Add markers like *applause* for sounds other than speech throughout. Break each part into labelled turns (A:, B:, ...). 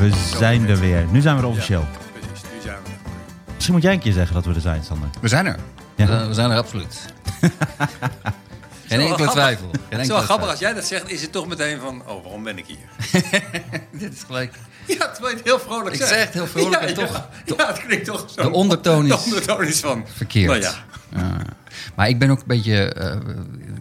A: We zijn er weer. Nu zijn we er officieel.
B: Ja, precies, nu zijn we er.
A: Misschien moet jij een keer zeggen dat we er zijn, Sander.
B: We zijn er.
A: Ja.
C: Eh, we zijn er
B: *laughs*
C: absoluut. Geen
B: wel
C: enkele
B: grappig.
C: twijfel. Geen
B: Het is wel
C: enkele
B: grappig, als jij dat zegt, is het toch meteen van, oh, waarom ben ik hier?
C: twijfel. Dit is gelijk.
B: *laughs* Ja, terwijl je het heel vrolijk
C: Ik
B: zegt.
C: zeg het heel vrolijk en toch-
B: Ja, ja, het klinkt toch zo.
C: de ondertoon
B: *laughs* De
C: is-
B: ondertoon is van...
C: Verkeerd.
B: Nou ja,
C: Ah. maar ik ben ook een beetje. eh,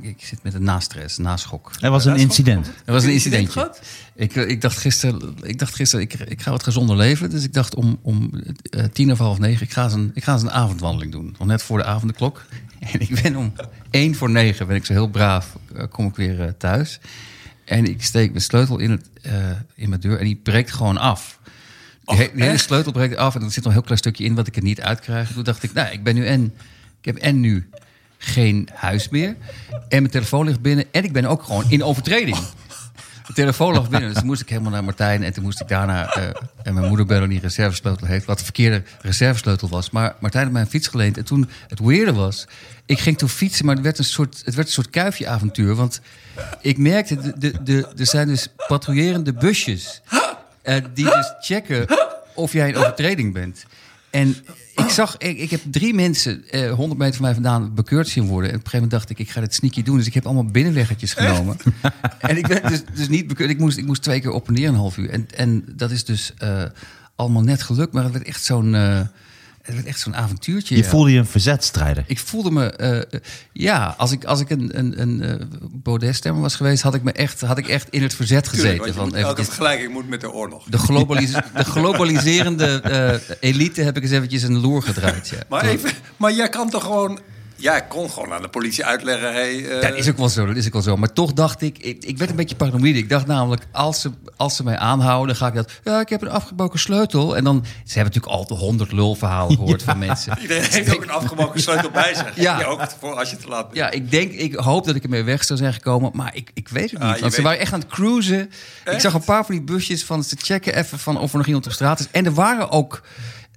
C: ik zit met een nastress, naschok.
A: Er was een incident.
C: Er was een
B: Heb je een
C: incidentje. Ik, eh, ik dacht gisteren, ik, dacht gisteren ik, ik ga wat gezonder leven. Dus ik dacht om, om eh, tien of half negen, ik ga, eens een, ik ga eens een avondwandeling doen. Want net voor de avondklok. *laughs* En ik ben om één voor negen, ben ik zo heel braaf, eh, kom ik weer eh, thuis. En ik steek mijn sleutel in, het, eh, in mijn deur en die breekt gewoon af. Die, he- die hele sleutel breekt af en er zit nog een heel klein stukje in wat ik er niet uitkrijg. Toen dacht ik, nou, ik ben nu en... Ik heb en nu geen huis meer. En mijn telefoon ligt binnen. En ik ben ook gewoon in overtreding. De telefoon lag binnen, dus toen moest ik helemaal naar Martijn. En toen moest ik daarna... eh, en mijn moeder bellen die reservesleutel heeft. Wat de verkeerde reservesleutel was. Maar Martijn had mij een fiets geleend. En toen het weirde was... Ik ging toen fietsen, maar het werd een soort, het werd een soort kuifje-avontuur. Want ik merkte, de, de, de, er zijn dus patrouillerende busjes... eh, die dus checken of jij in overtreding bent. En ik zag, ik, ik heb drie mensen eh 100 meter van mij vandaan bekeurd zien worden. En op een gegeven moment dacht ik, ik ga dit sneaky doen. Dus ik heb allemaal
B: *laughs*
C: binnenweggetjes genomen. en ik werd dus, dus niet bekeurd. Ik moest, ik moest twee keer op en neer een half uur. En, en dat is dus eh, allemaal net gelukt. Maar het werd echt zo'n, eh, het werd echt zo'n avontuurtje.
A: Je
C: ja.
A: voelde je een verzetstrijder.
C: Ik voelde me, eh, eh, ja, als ik, als ik een, een, een eh, Baudet-stemmer was geweest, had ik me echt, had ik echt in het verzet gezeten.
B: tuurlijk, want je
C: van
B: moet
C: eventjes-
B: elke vergelijking moet met de oorlog.
C: de, globalis de globaliserende eh, elite heb ik eens eventjes een loer gedraaid. Ja.
B: Maar, even, maar jij kan toch gewoon... Jij kon gewoon aan de politie uitleggen... Hey, eh,
C: Dat is ook wel zo, dat is ook wel zo. Maar toch dacht ik, ik, ik werd een beetje paranoïde. Ik dacht namelijk, als ze, als ze mij aanhouden, dan ga ik dat... Ja, ik heb een afgebroken sleutel. En dan, ze hebben natuurlijk altijd honderd lulverhalen gehoord van mensen.
B: Iedereen heeft ook een afgebroken sleutel bij zich.
C: Ja.
B: Ja. ook voor als je te laat bent.
C: Ja, ik denk, ik hoop dat ik ermee weg zou zijn gekomen, maar ik, ik weet het
B: Ah,
C: niet.
B: je
C: want ze
B: weet-
C: waren echt aan het cruisen. Ik zag een paar van die busjes van ze checken even van of er nog iemand op straat is. En er waren ook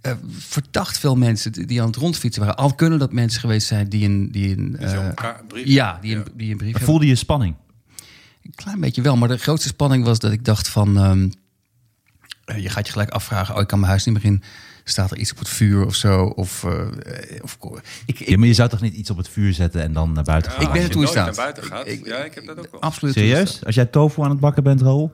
C: eh, verdacht veel mensen die die aan het rondfietsen waren. Al kunnen dat mensen geweest zijn die een, die een,
B: Zo,
C: eh,
B: elkaar- brief.
C: ja, die een, die een brief hebben.
A: Voelde je spanning?
C: Een klein beetje wel, maar de grootste spanning was dat ik dacht van... ehm, eh, je gaat je gelijk afvragen, oh, ik kan mijn huis niet meer in. Staat er iets op het vuur of zo? Of, eh, eh, of ik, ik,
A: Ja, maar je zou toch niet iets op het vuur zetten en dan naar buiten gaan?
C: ik ben
B: Als
C: er
B: je
C: toe in
B: nooit
C: staat.
B: naar buiten gaat.
C: Ik- ik-
B: Ja, ik heb dat ook wel.
C: absoluut toe in staat.
A: Serieus? Als jij tofu aan het bakken bent, Roel?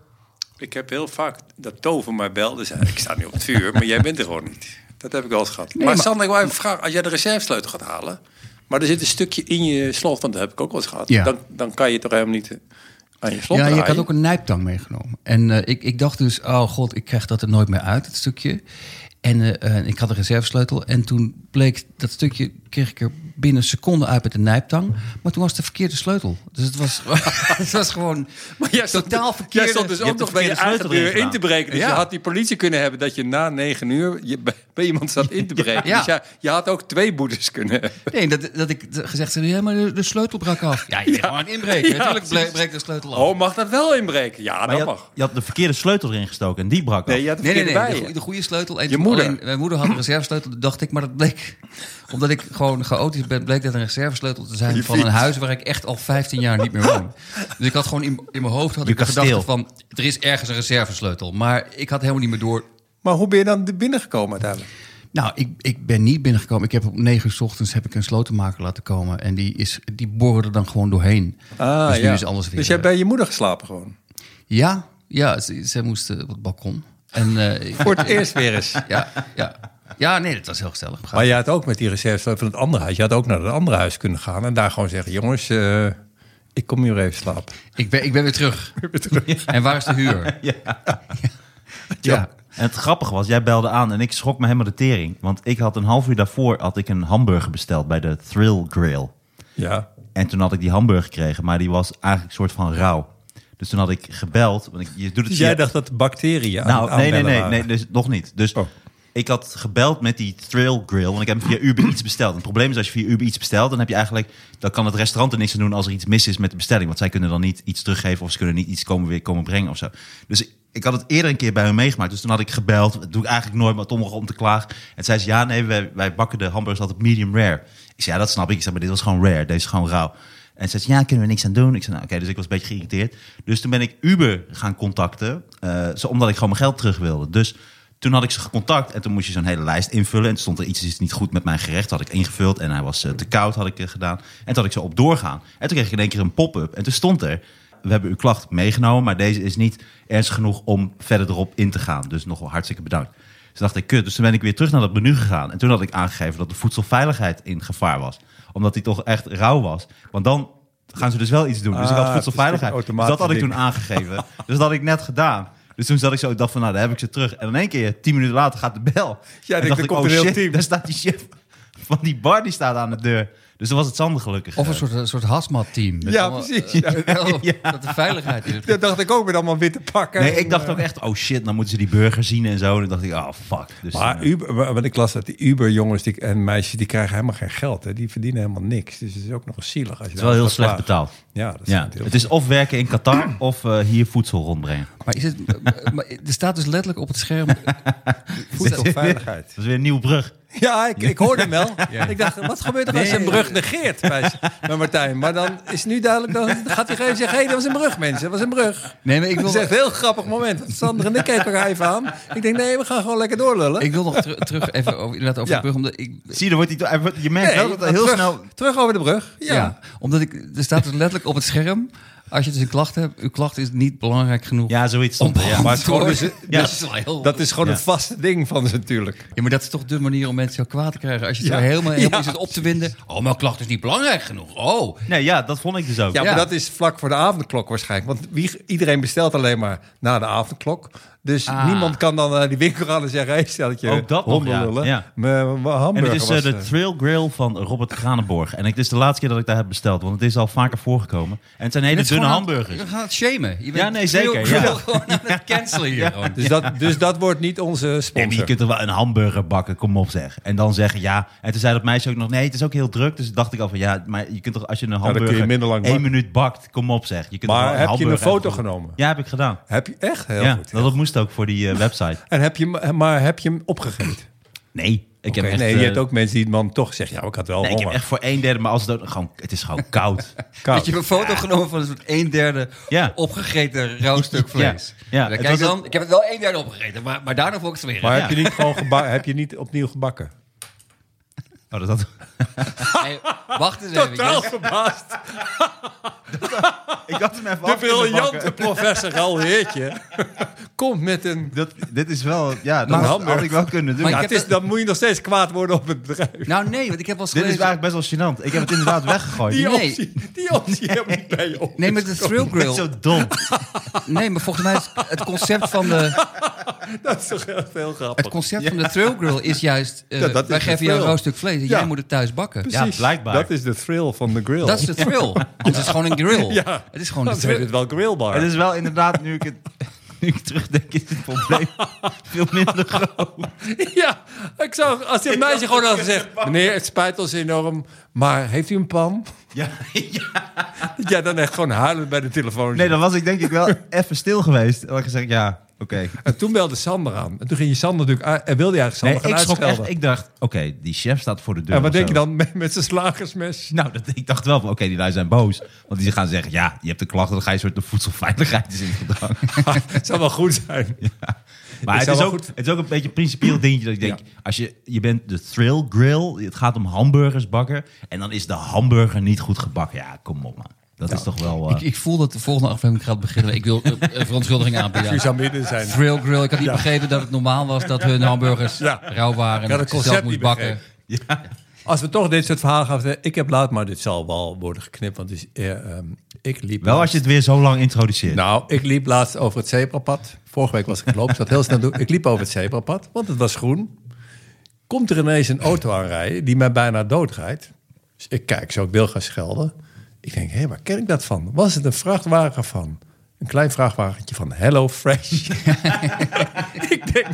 B: Ik heb heel vaak dat tover mij belde. Zei, ik sta nu op het vuur, maar jij bent er gewoon niet. Dat heb ik wel eens gehad. maar,
C: maar-
B: Sander, ik wil even vragen. Als jij de reservesleutel gaat halen... maar er zit een stukje in je slot, want dat heb ik ook wel eens gehad...
C: Ja.
B: dan, dan kan je toch helemaal niet eh, aan je slot
C: Ja,
B: draaien.
C: je had ook een nijptang meegenomen. En eh, ik, ik dacht dus, oh god, ik krijg dat er nooit meer uit, het stukje. En eh, eh, ik had een reservesleutel. En toen bleek dat stukje, kreeg ik er binnen een seconde uit met een nijptang. Maar toen was het de verkeerde sleutel. Dus het was, *laughs* het was gewoon
B: *laughs* Jij stond-
C: totaal verkeerd.
B: Jij stond dus
A: je
B: ook
A: hebt de
B: nog bij je
A: verkeerde
B: eigen
A: sleutel
B: deur
A: erin
B: in te breken. Dus
C: Ja.
B: je had die politie kunnen hebben dat je na negen uur... Je, *laughs* bij, bij iemand zat in te breken.
C: Ja.
B: Dus ja, je had ook twee boetes kunnen hebben.
C: Nee, dat, dat ik gezegd zei, ja, maar de, de sleutel brak af. Ja, je bent gewoon aan het inbreken.
B: Ja,
C: Natuurlijk ble-
B: precies.
C: breekt de sleutel af.
B: Oh, mag dat wel inbreken? Ja,
A: Maar
B: dat
A: je had,
B: mag.
A: je had de verkeerde sleutel erin gestoken en die brak af.
B: Nee, je had er
C: Nee, nee, nee.
B: verkeerde
C: De,
B: bij
C: goe- de goede sleutel. En
B: Je moeder.
C: alleen- mijn moeder had een reservesleutel, dat dacht ik. Maar dat bleek, omdat ik gewoon chaotisch ben, bleek dat een reservesleutel te zijn
B: Je
C: van een
B: fiets.
C: huis waar ik echt al 15 jaar niet meer woon. Dus ik had gewoon in, in mijn hoofd had
A: Je
C: ik de gedachte
A: kasteel.
C: van, er is ergens een reservesleutel. Maar ik had helemaal niet meer door.
B: Maar hoe ben je dan binnengekomen uiteindelijk?
C: Nou, ik, ik ben niet binnengekomen. Ik heb op 9 uur 's ochtends heb ik een slotenmaker laten komen. En die, is, die boren er dan gewoon doorheen.
B: Ah,
C: dus nu
B: ja.
C: is alles weer...
B: Dus jij hebt
C: eh,
B: bij je moeder geslapen gewoon?
C: Ja, ja ze, ze moesten op het balkon.
B: *laughs*
C: En, eh, ik-
B: Voor het eerst weer eens.
C: *laughs* ja, ja. ja, nee, dat was heel gezellig.
A: Ah.
C: We gaan-
B: Maar je had ook met die reserve van het andere huis. Je had ook naar het andere huis kunnen gaan en daar gewoon zeggen: jongens, eh, ik kom hier even slapen.
C: Ik ben, ik ben weer terug.
B: *laughs*
C: *laughs* En waar is de huur? Ja. ja.
A: En het grappige was, jij belde aan en ik schrok me helemaal de tering. Want ik had een half uur daarvoor had ik een hamburger besteld bij de Thrill Grill.
B: Ja.
A: En toen had ik die hamburger gekregen, maar die was eigenlijk een soort van rauw. Dus Dus toen had ik gebeld. Want ik, je doet het
B: Dus
A: via-
B: jij dacht dat de bacteriën aan het
A: nou, nee, nee,
B: aanbellen
A: nee,
B: waren.
A: nee, dus nog niet. Dus
B: Oh.
A: ik had gebeld met die Trail Grill, want ik heb hem via Uber Eats besteld. En het probleem is, als je via Uber Eats bestelt, dan heb je eigenlijk, dan kan het restaurant er niks aan doen als er iets mis is met de bestelling, want zij kunnen dan niet iets teruggeven of ze kunnen niet iets komen weer komen brengen of zo. Dus ik, ik had het eerder een keer bij hun meegemaakt, dus toen had ik gebeld. Dat doe ik eigenlijk nooit, maar toch nog om te klagen. En zei ze, ja, nee, wij, wij bakken de hamburgers altijd medium rare. Ik zei, ja, dat snap ik. Ik zei, maar dit was gewoon rare, deze is gewoon rauw. En ze zei, ja, kunnen we niks aan doen? Ik zei, nou, oké, dus ik was een beetje geïrriteerd. Dus toen ben ik Uber gaan contacten, eh, zo, omdat ik gewoon mijn geld terug wilde. Dus toen had ik ze gecontact en toen moest je zo'n hele lijst invullen. En toen stond er iets is niet goed met mijn gerecht, had ik ingevuld. En hij was eh, te koud, had ik eh, gedaan. En toen had ik ze op doorgaan. En toen kreeg ik in één keer een pop-up. En toen stond er, we hebben uw klacht meegenomen, maar deze is niet ernstig genoeg om verder erop in te gaan. Dus nog wel hartstikke bedankt. Dus dacht ik, kut. Dus toen ben ik weer terug naar dat menu gegaan. En toen had ik aangegeven dat de voedselveiligheid in gevaar was. Omdat die toch echt rauw was. Want dan gaan ze dus wel iets doen. Dus ik
B: Ah,
A: had voedselveiligheid.
B: het is een
A: Dus dat had ik
B: automatisch
A: toen aangegeven. *laughs* dus dat had ik net gedaan. Dus toen zat ik zo, ik dacht van, nou, daar heb ik ze terug. En in één keer, tien minuten later, gaat de bel.
B: Ja,
A: en
B: ik denk,
A: dacht
B: er
A: ik,
B: komt
A: oh
B: een heel
A: shit,
B: team.
A: daar staat die chef *laughs* van die bar, die staat aan de deur. Dus dan was het Sander gelukkig.
C: Of een
A: Eh,
C: soort, een soort hazmat-team. met
B: Ja,
C: allemaal,
B: precies,
C: *laughs* eh, Dat de veiligheid in het
B: Dat dacht ik ook met allemaal witte pakken.
A: Nee, ik dacht ook echt, oh shit, dan moeten ze die burger zien en zo. En dan dacht ik, oh fuck. Dus,
B: Maar
A: eh,
B: Uber, wa- want ik las dat die Uber-jongens die- en meisjes, die krijgen helemaal geen geld. Hè? Die verdienen helemaal niks. Dus het is ook nog eens zielig. Als je
A: het is
B: daar
A: wel heel
B: gaat
A: slecht
B: klagen.
A: betaald.
B: Ja, dat is
A: Ja,
B: natuurlijk-
A: het is of werken in Qatar of eh, hier voedsel rondbrengen.
C: Maar, is het, maar er staat dus letterlijk op het scherm...
A: *laughs*
B: voedselveiligheid.
A: Dat is weer een nieuwe brug.
B: Ja, ik, ik hoorde hem wel.
A: *laughs*
B: Ik dacht, wat gebeurt er als je een brug negeert bij, bij Martijn? Maar dan is nu duidelijk, dan gaat hij gewoon zeggen... hé, dat was een brug, mensen, dat was een brug.
C: Nee, maar ik
B: *laughs* Dat
C: wil,
B: is echt een heel grappig moment. Want Sander en ik keken elkaar even aan. Ik denk, nee, we gaan gewoon lekker doorlullen.
C: ik wil nog teru- terug even over, inderdaad over
B: Ja.
C: de brug. Omdat ik,
A: Zie je, dan wordt die, hij wordt- je merkt
B: Nee,
A: wel dat
B: maar
A: hij heel
B: terug,
A: snel...
B: Terug over de brug. Ja.
C: ja. omdat ik, er staat dus letterlijk op het scherm... Als je dus een klacht hebt, uw klacht is niet belangrijk genoeg.
A: Ja, zoiets stond er, ja.
C: maar
B: Maar het gewoon is-
A: ja,
C: dat is wel heel...
B: Dat is gewoon
A: Ja.
B: het vaste ding van ze natuurlijk.
C: Ja, maar dat is toch de manier om mensen zo kwaad te krijgen. Als je het
B: Ja.
C: zo helemaal,
B: Ja.
C: helemaal zit op te winden. Oh, mijn klacht is niet belangrijk genoeg. Oh,
A: Nee, ja, dat vond ik dus ook.
B: Ja,
C: Ja.
B: maar dat is vlak voor de avondklok waarschijnlijk. Want wie, iedereen bestelt alleen maar na de avondklok. Dus
C: Ah.
B: niemand kan dan naar die winkel gaan en zeggen... hé, stelletje
A: Ook dat nog, ja.
B: hondenlullen.
A: Ja.
B: Mijn- mijn
A: En
B: hamburger
A: het is eh,
B: was,
A: de
B: eh,
A: Trail Grill van Robert Kranenborg. En het is de laatste keer dat ik daar heb besteld, want het is al vaker voorgekomen. En het zijn hele
C: Dit is
A: dunne
C: gewoon aan-
A: hamburgers.
C: We gaan het shamen. Je bent
A: Ja, nee, zeker,
C: veel-
A: ja.
C: gewoon aan het cancelen hier. gewoon.
B: Dus, dat, dus dat wordt niet onze
A: Ja, maar je
B: sponsor.
A: kunt er wel een hamburger bakken, kom op zeg. En dan zeggen ja. En toen zei dat meisje ook nog, nee, het is ook heel druk. Dus dacht ik al van, ja, maar je kunt toch als je een
B: Nou, kun je
A: hamburger
B: minder lang
A: één
B: bakken.
A: minuut bakt, kom op zeg. Je kunt
B: Maar
A: toch wel
B: heb je een
A: hamburger
B: foto
A: hebben.
B: genomen?
A: Ja, heb ik gedaan.
B: Heb je echt heel
A: Ja, nou,
B: goed.
A: dat, dat moest ook voor die
B: *laughs*
A: eh, website.
B: En heb je, hem- maar heb je hem opgegeten?
A: Nee, ik heb
B: Oké,
A: echt...
B: nee,
A: eh,
B: je hebt ook mensen die dan toch zeggen... ja, ik had wel
A: nee, ik heb
B: honger.
A: echt voor een derde, maar als het, ook, gewoon, het is
B: *laughs*
A: gewoon koud.
B: Koud.
C: Dat je een foto genomen van een soort een derde
A: Ja.
C: opgegeten rauw stuk vlees.
A: Ja, ja.
C: Dan
A: Het
C: kijk
A: was
C: dan, ik heb het wel een derde opgegeten, maar, maar daarna vond ik het weer.
B: Maar
A: Ja.
B: heb, je niet gewoon geba- heb je niet opnieuw gebakken?
A: Oh, dat had...
C: Hey, wacht eens even. Jess.
B: verbaasd.
A: Ik had hem even
B: De briljante
A: *laughs*
B: professor Ralheertje komt met een...
A: Dat, dit is wel, ja,
B: Maar-
A: dat had, had ik wel kunnen doen.
C: Maar
B: Ja,
C: ik
B: het
C: heb
B: is,
C: dat-
B: dan moet je nog steeds kwaad worden op het bedrijf.
C: Nou nee, want ik heb wel eens
A: Dit is
C: gelezen-
A: eigenlijk best wel gênant. Ik heb het *laughs* inderdaad weggegooid.
B: Die
C: Nee.
B: optie, die optie heb ik bij je op.
C: Nee, maar de thrill
A: Dit is
C: grill.
A: zo dom.
C: Nee, maar volgens mij is het concept van de,
B: Dat is toch echt heel grappig.
C: het concept van de thrill grill is juist... eh,
B: Ja, dat is
C: wij
B: de
C: geven jou een
B: thrill.
C: rauw stuk vlees en
B: Ja.
C: jij moet het thuis bakken.
A: Ja, blijkbaar.
B: Dat is de thrill van de grill.
C: Dat is de thrill. Want het is gewoon een grill.
B: Ja.
C: Het is gewoon
B: Dan
C: de
B: heet
C: thrill.
B: het wel grillbar.
A: Het is wel inderdaad, nu ik het *laughs* nu ik terugdenk, is het *laughs* probleem veel minder groot.
B: *laughs* Ja, ik zou, als dit meisje gewoon had gezegd... Meneer, het spijt ons enorm, maar heeft u een pan?
A: Ja, ja.
B: *laughs* Ja, dan echt gewoon huilen bij de telefoon.
A: Nee, dan was ik denk ik wel even stil geweest. En had ik gezegd, ja, oké.
B: En toen belde Sander aan. En toen ging je Sander natuurlijk aan. En wilde je eigenlijk
A: Nee,
B: Sander
A: ik
B: gaan
A: schrok echt.
B: uitschelden.
A: Ik dacht, oké, die chef staat voor de deur.
B: en wat
A: of
B: denk
A: zo.
B: je dan met, met zijn
A: *laughs*
B: slagersmes? *laughs*
A: Nou, dat, ik dacht wel van, oké, die lui zijn boos. Want die gaan zeggen, ja, je hebt een klacht, dan ga je een soort de voedselveiligheid is in gedrang. *laughs*
B: Het zou wel goed zijn.
A: Maar
B: Ik
A: het
B: zou
A: is,
B: wel
A: ook,
B: goed-
A: het is ook een beetje een principieel dingetje dat ik denk, als je, je bent de thrill grill, het gaat om hamburgers bakken, en dan is de hamburger niet goed gebakken. Ja, kom op man. Dat is
B: Nou,
A: toch wel... eh,
C: Ik, ik voel dat de volgende aflevering gaat beginnen. Ik wil eh, eh, verontschuldigingen aanbieden.
B: U zou midden zijn.
C: Thrill Grill. Ik had niet begrepen dat het normaal was dat hun hamburgers
B: Ja.
C: rauw waren. En
B: had het
C: dat ik ze
B: concept
C: zelf moest
B: niet
C: bakken.
B: begrepen. Als we toch dit soort verhalen gaan vertellen. Ik heb laat, maar dit zal wel worden geknipt. Want het is, eh, ehm, ik liep...
A: Wel als je het weer zo lang introduceert.
B: Nou, ik liep laatst over het zebrapad. Vorige week was ik gelopen, ik zat heel snel doen. Ik liep over het zebrapad, want het was groen. Komt er ineens een auto aanrijden die mij bijna doodrijdt. Dus ik kijk zo, ik wil gaan schelden. Ik denk, hé, waar ken ik dat van? Was het een vrachtwagen van een klein vraagwagentje van Hello Fresh. *laughs* ik denk,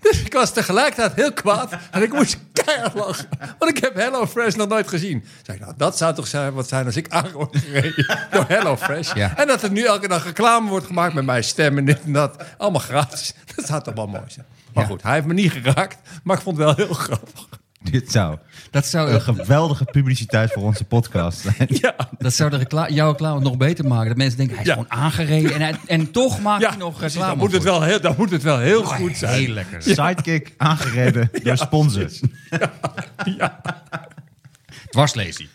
B: dus ik was tegelijkertijd heel kwaad en ik moest keihard lachen. Want ik heb Hello Fresh nog nooit gezien. Zeg ik, nou, dat zou toch zijn wat zijn als ik aan word gereden door Hello Fresh.
C: Ja.
B: En dat er nu elke dag reclame wordt gemaakt met mijn stem en dit en dat. Allemaal gratis. Dat zou toch wel mooi zijn. Maar goed, hij heeft me niet geraakt, maar ik vond het wel heel grappig.
A: *laughs* Dit zou
C: Dat zou,
A: een geweldige publiciteit voor onze podcast zijn.
B: *laughs* Ja.
C: dat zou de recla jouw reclame nog beter maken. Dat mensen denken, hij is
B: Ja.
C: gewoon aangereden. En, hij- en toch maakt hij nog
B: precies,
C: reclame.
B: dan moet, het
C: voor.
B: wel heel, dan moet het wel heel goed zijn.
C: Heel
A: *laughs*
C: lekker.
A: Sidekick aangereden
B: *laughs*
A: door sponsors.
B: *laughs*
C: Dwarslazy.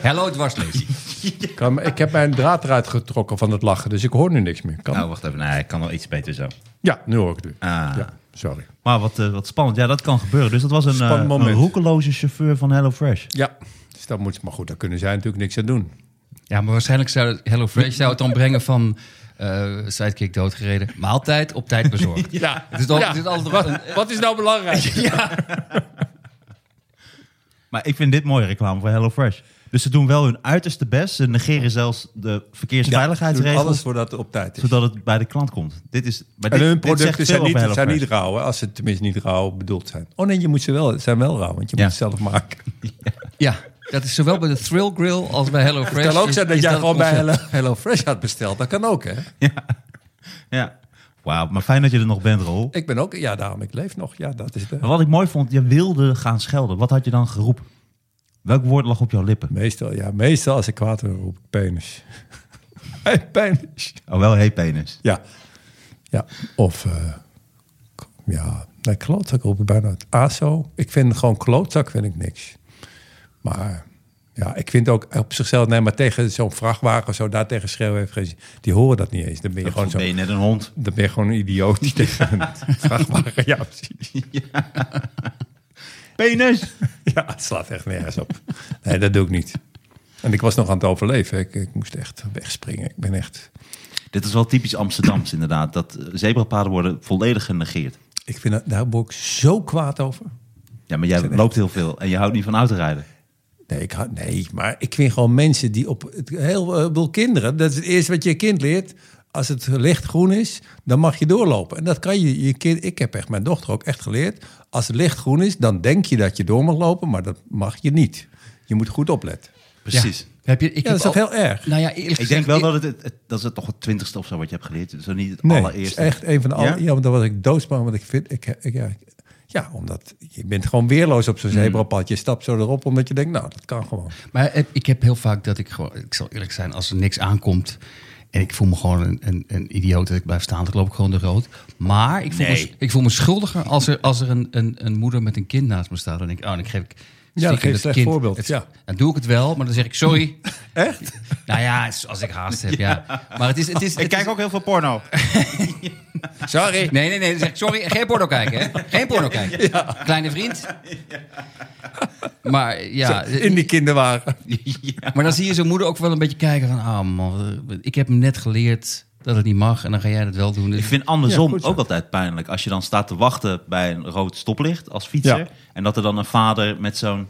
C: Hello, dwarslazy.
B: Ik, kan- ik heb mijn draad eruit getrokken van het lachen, dus ik hoor nu niks meer. Kan?
A: Nou, wacht even. Nee, ik kan wel iets beter zo.
B: Ja, nu hoor ik het. nu.
A: Ah.
B: Ja, sorry.
A: Maar wat, eh, wat spannend. Ja, dat kan gebeuren. Dus dat was een, eh
B: Spannend
A: een
B: moment.
A: roekeloze chauffeur van HelloFresh.
B: Ja, dus dat moet, maar goed, daar kunnen zij natuurlijk niks aan doen.
C: Ja, maar waarschijnlijk zou het- Hello Fresh zou het dan brengen van... eh, sidekick doodgereden. Maaltijd op tijd bezorgd.
B: *laughs* Ja,
C: Het is dan- het is altijd wel een-
B: wat is nou belangrijk?
A: Maar ik vind dit mooie reclame voor HelloFresh. Dus ze doen wel hun uiterste best. Ze negeren zelfs de verkeersveiligheidsregels.
B: Alles voordat het op tijd is.
A: Zodat het bij de klant komt. Dit is, maar
B: en
A: dit,
B: hun
A: dit zegt
B: producten
A: veel
B: zijn
A: over
B: niet, zijn niet
A: HelloFresh.
B: rauw, hè, als ze tenminste niet rauw bedoeld zijn. Oh nee, je moet ze wel, het zijn wel rauw, want je
A: Ja.
B: moet het zelf maken.
C: Ja, dat is zowel bij de Thrill Grill als bij Hello Fresh.
B: Het kan ook zijn dat jij gewoon bij
C: Hello...
B: Hello, Hello Fresh had besteld. Dat kan ook, hè?
A: Ja. Wauw, maar fijn dat je er nog bent, Rol.
B: Ik ben ook, ja, daarom, ik leef nog. Ja, dat is de
A: Maar wat ik mooi vond, je wilde gaan schelden. Wat had je dan geroepen? Welk woord lag op jouw lippen?
B: Meestal, ja, meestal als ik kwaad word, roep ik penis. *laughs* Hey, penis.
A: Oh, wel hey penis.
B: Ja. ja. Of, eh, k- ja, nee, klootzak roep ik bijna het ASO. Ik vind gewoon klootzak vind ik niks. Maar ja, ik vind ook op zichzelf, nee, maar tegen zo'n vrachtwagen of zo, daar tegen schreeuwen heeft geen zin. Die horen dat niet eens. Dan ben je gewoon zo.
A: ben je net een hond.
B: Dan ben je gewoon een idioot die tegen een vrachtwagen. Ja, precies.
A: Penis!
B: Ja, het slaat echt nergens op. Nee, dat doe ik niet. En ik was nog aan het overleven. Ik, ik moest echt wegspringen. Ik ben echt...
A: *laughs* Dit is wel typisch Amsterdams inderdaad. Dat eh, zebrapaden worden volledig genegeerd.
B: Ik vind dat, daar word ik zo kwaad over.
A: Ja, maar jij loopt heel veel en je houdt niet van autorijden.
B: Nee, ik, hou- nee, maar ik vind gewoon mensen die op het heel eh, veel kinderen. Dat is het eerste wat je kind leert. Als het licht groen is, dan mag je doorlopen. En dat kan je, je kind. Ik heb echt mijn dochter ook echt geleerd. Als het licht groen is, dan denk je dat je door mag lopen, maar dat mag je niet. Je moet goed opletten.
A: Precies.
C: Heb je, ik
B: Ja, dat is
C: heb
B: toch
C: al-
B: heel erg?
C: Nou ja, eerlijk
A: Ik denk
C: gezegd,
A: wel dat het, het, het- dat is het toch het twintigste of zo wat je hebt geleerd. Dus niet het
B: Nee, het is
A: allereerste.
B: echt een van de
A: Ja?
B: aller- Ja, want dan was ik doodsbang, want ik vind... Ik, ik- ja, ik- ja, omdat je bent gewoon weerloos op zo'n
A: Hmm.
B: zebrapad. Je stapt zo erop, omdat je denkt, nou, dat kan gewoon.
C: Maar eh, ik heb heel vaak dat ik gewoon, ik zal eerlijk zijn, als er niks aankomt en ik voel me gewoon een, een, een idioot dat ik blijf staan, dan loop ik gewoon de rood. Maar ik voel, me,
A: Nee.
C: ik voel me schuldiger als er, als er een, een, een moeder met een kind naast me staat. Dan denk ik, oh, dan geef ik. stiekem
B: geef je
C: dat
B: slecht
C: kind
B: voorbeeld,
C: het-
B: ja.
C: Dan doe ik het wel, maar dan zeg ik sorry. Echt? Nou ja, het is als ik haast heb, ja. Maar het is. Het is
A: Ik
C: het is-
A: kijk ook heel veel
B: *laughs*
A: porno.
B: Sorry.
C: Nee, nee, nee. Dan zeg ik, sorry, geen porno kijken, hè? Geen porno kijken. Kleine vriend. Maar ja.
A: eh,
B: In die kinderwagen.
C: *laughs* Maar dan zie je zo'n moeder ook wel een beetje kijken van... ah man, ik heb hem net geleerd dat het niet mag en dan ga jij dat wel doen. Dus
A: Ik vind andersom
B: Ja, goed zo.
A: ook altijd pijnlijk. Als je dan staat te wachten bij een rood stoplicht als fietser.
B: Ja.
A: En dat er dan een vader met zo'n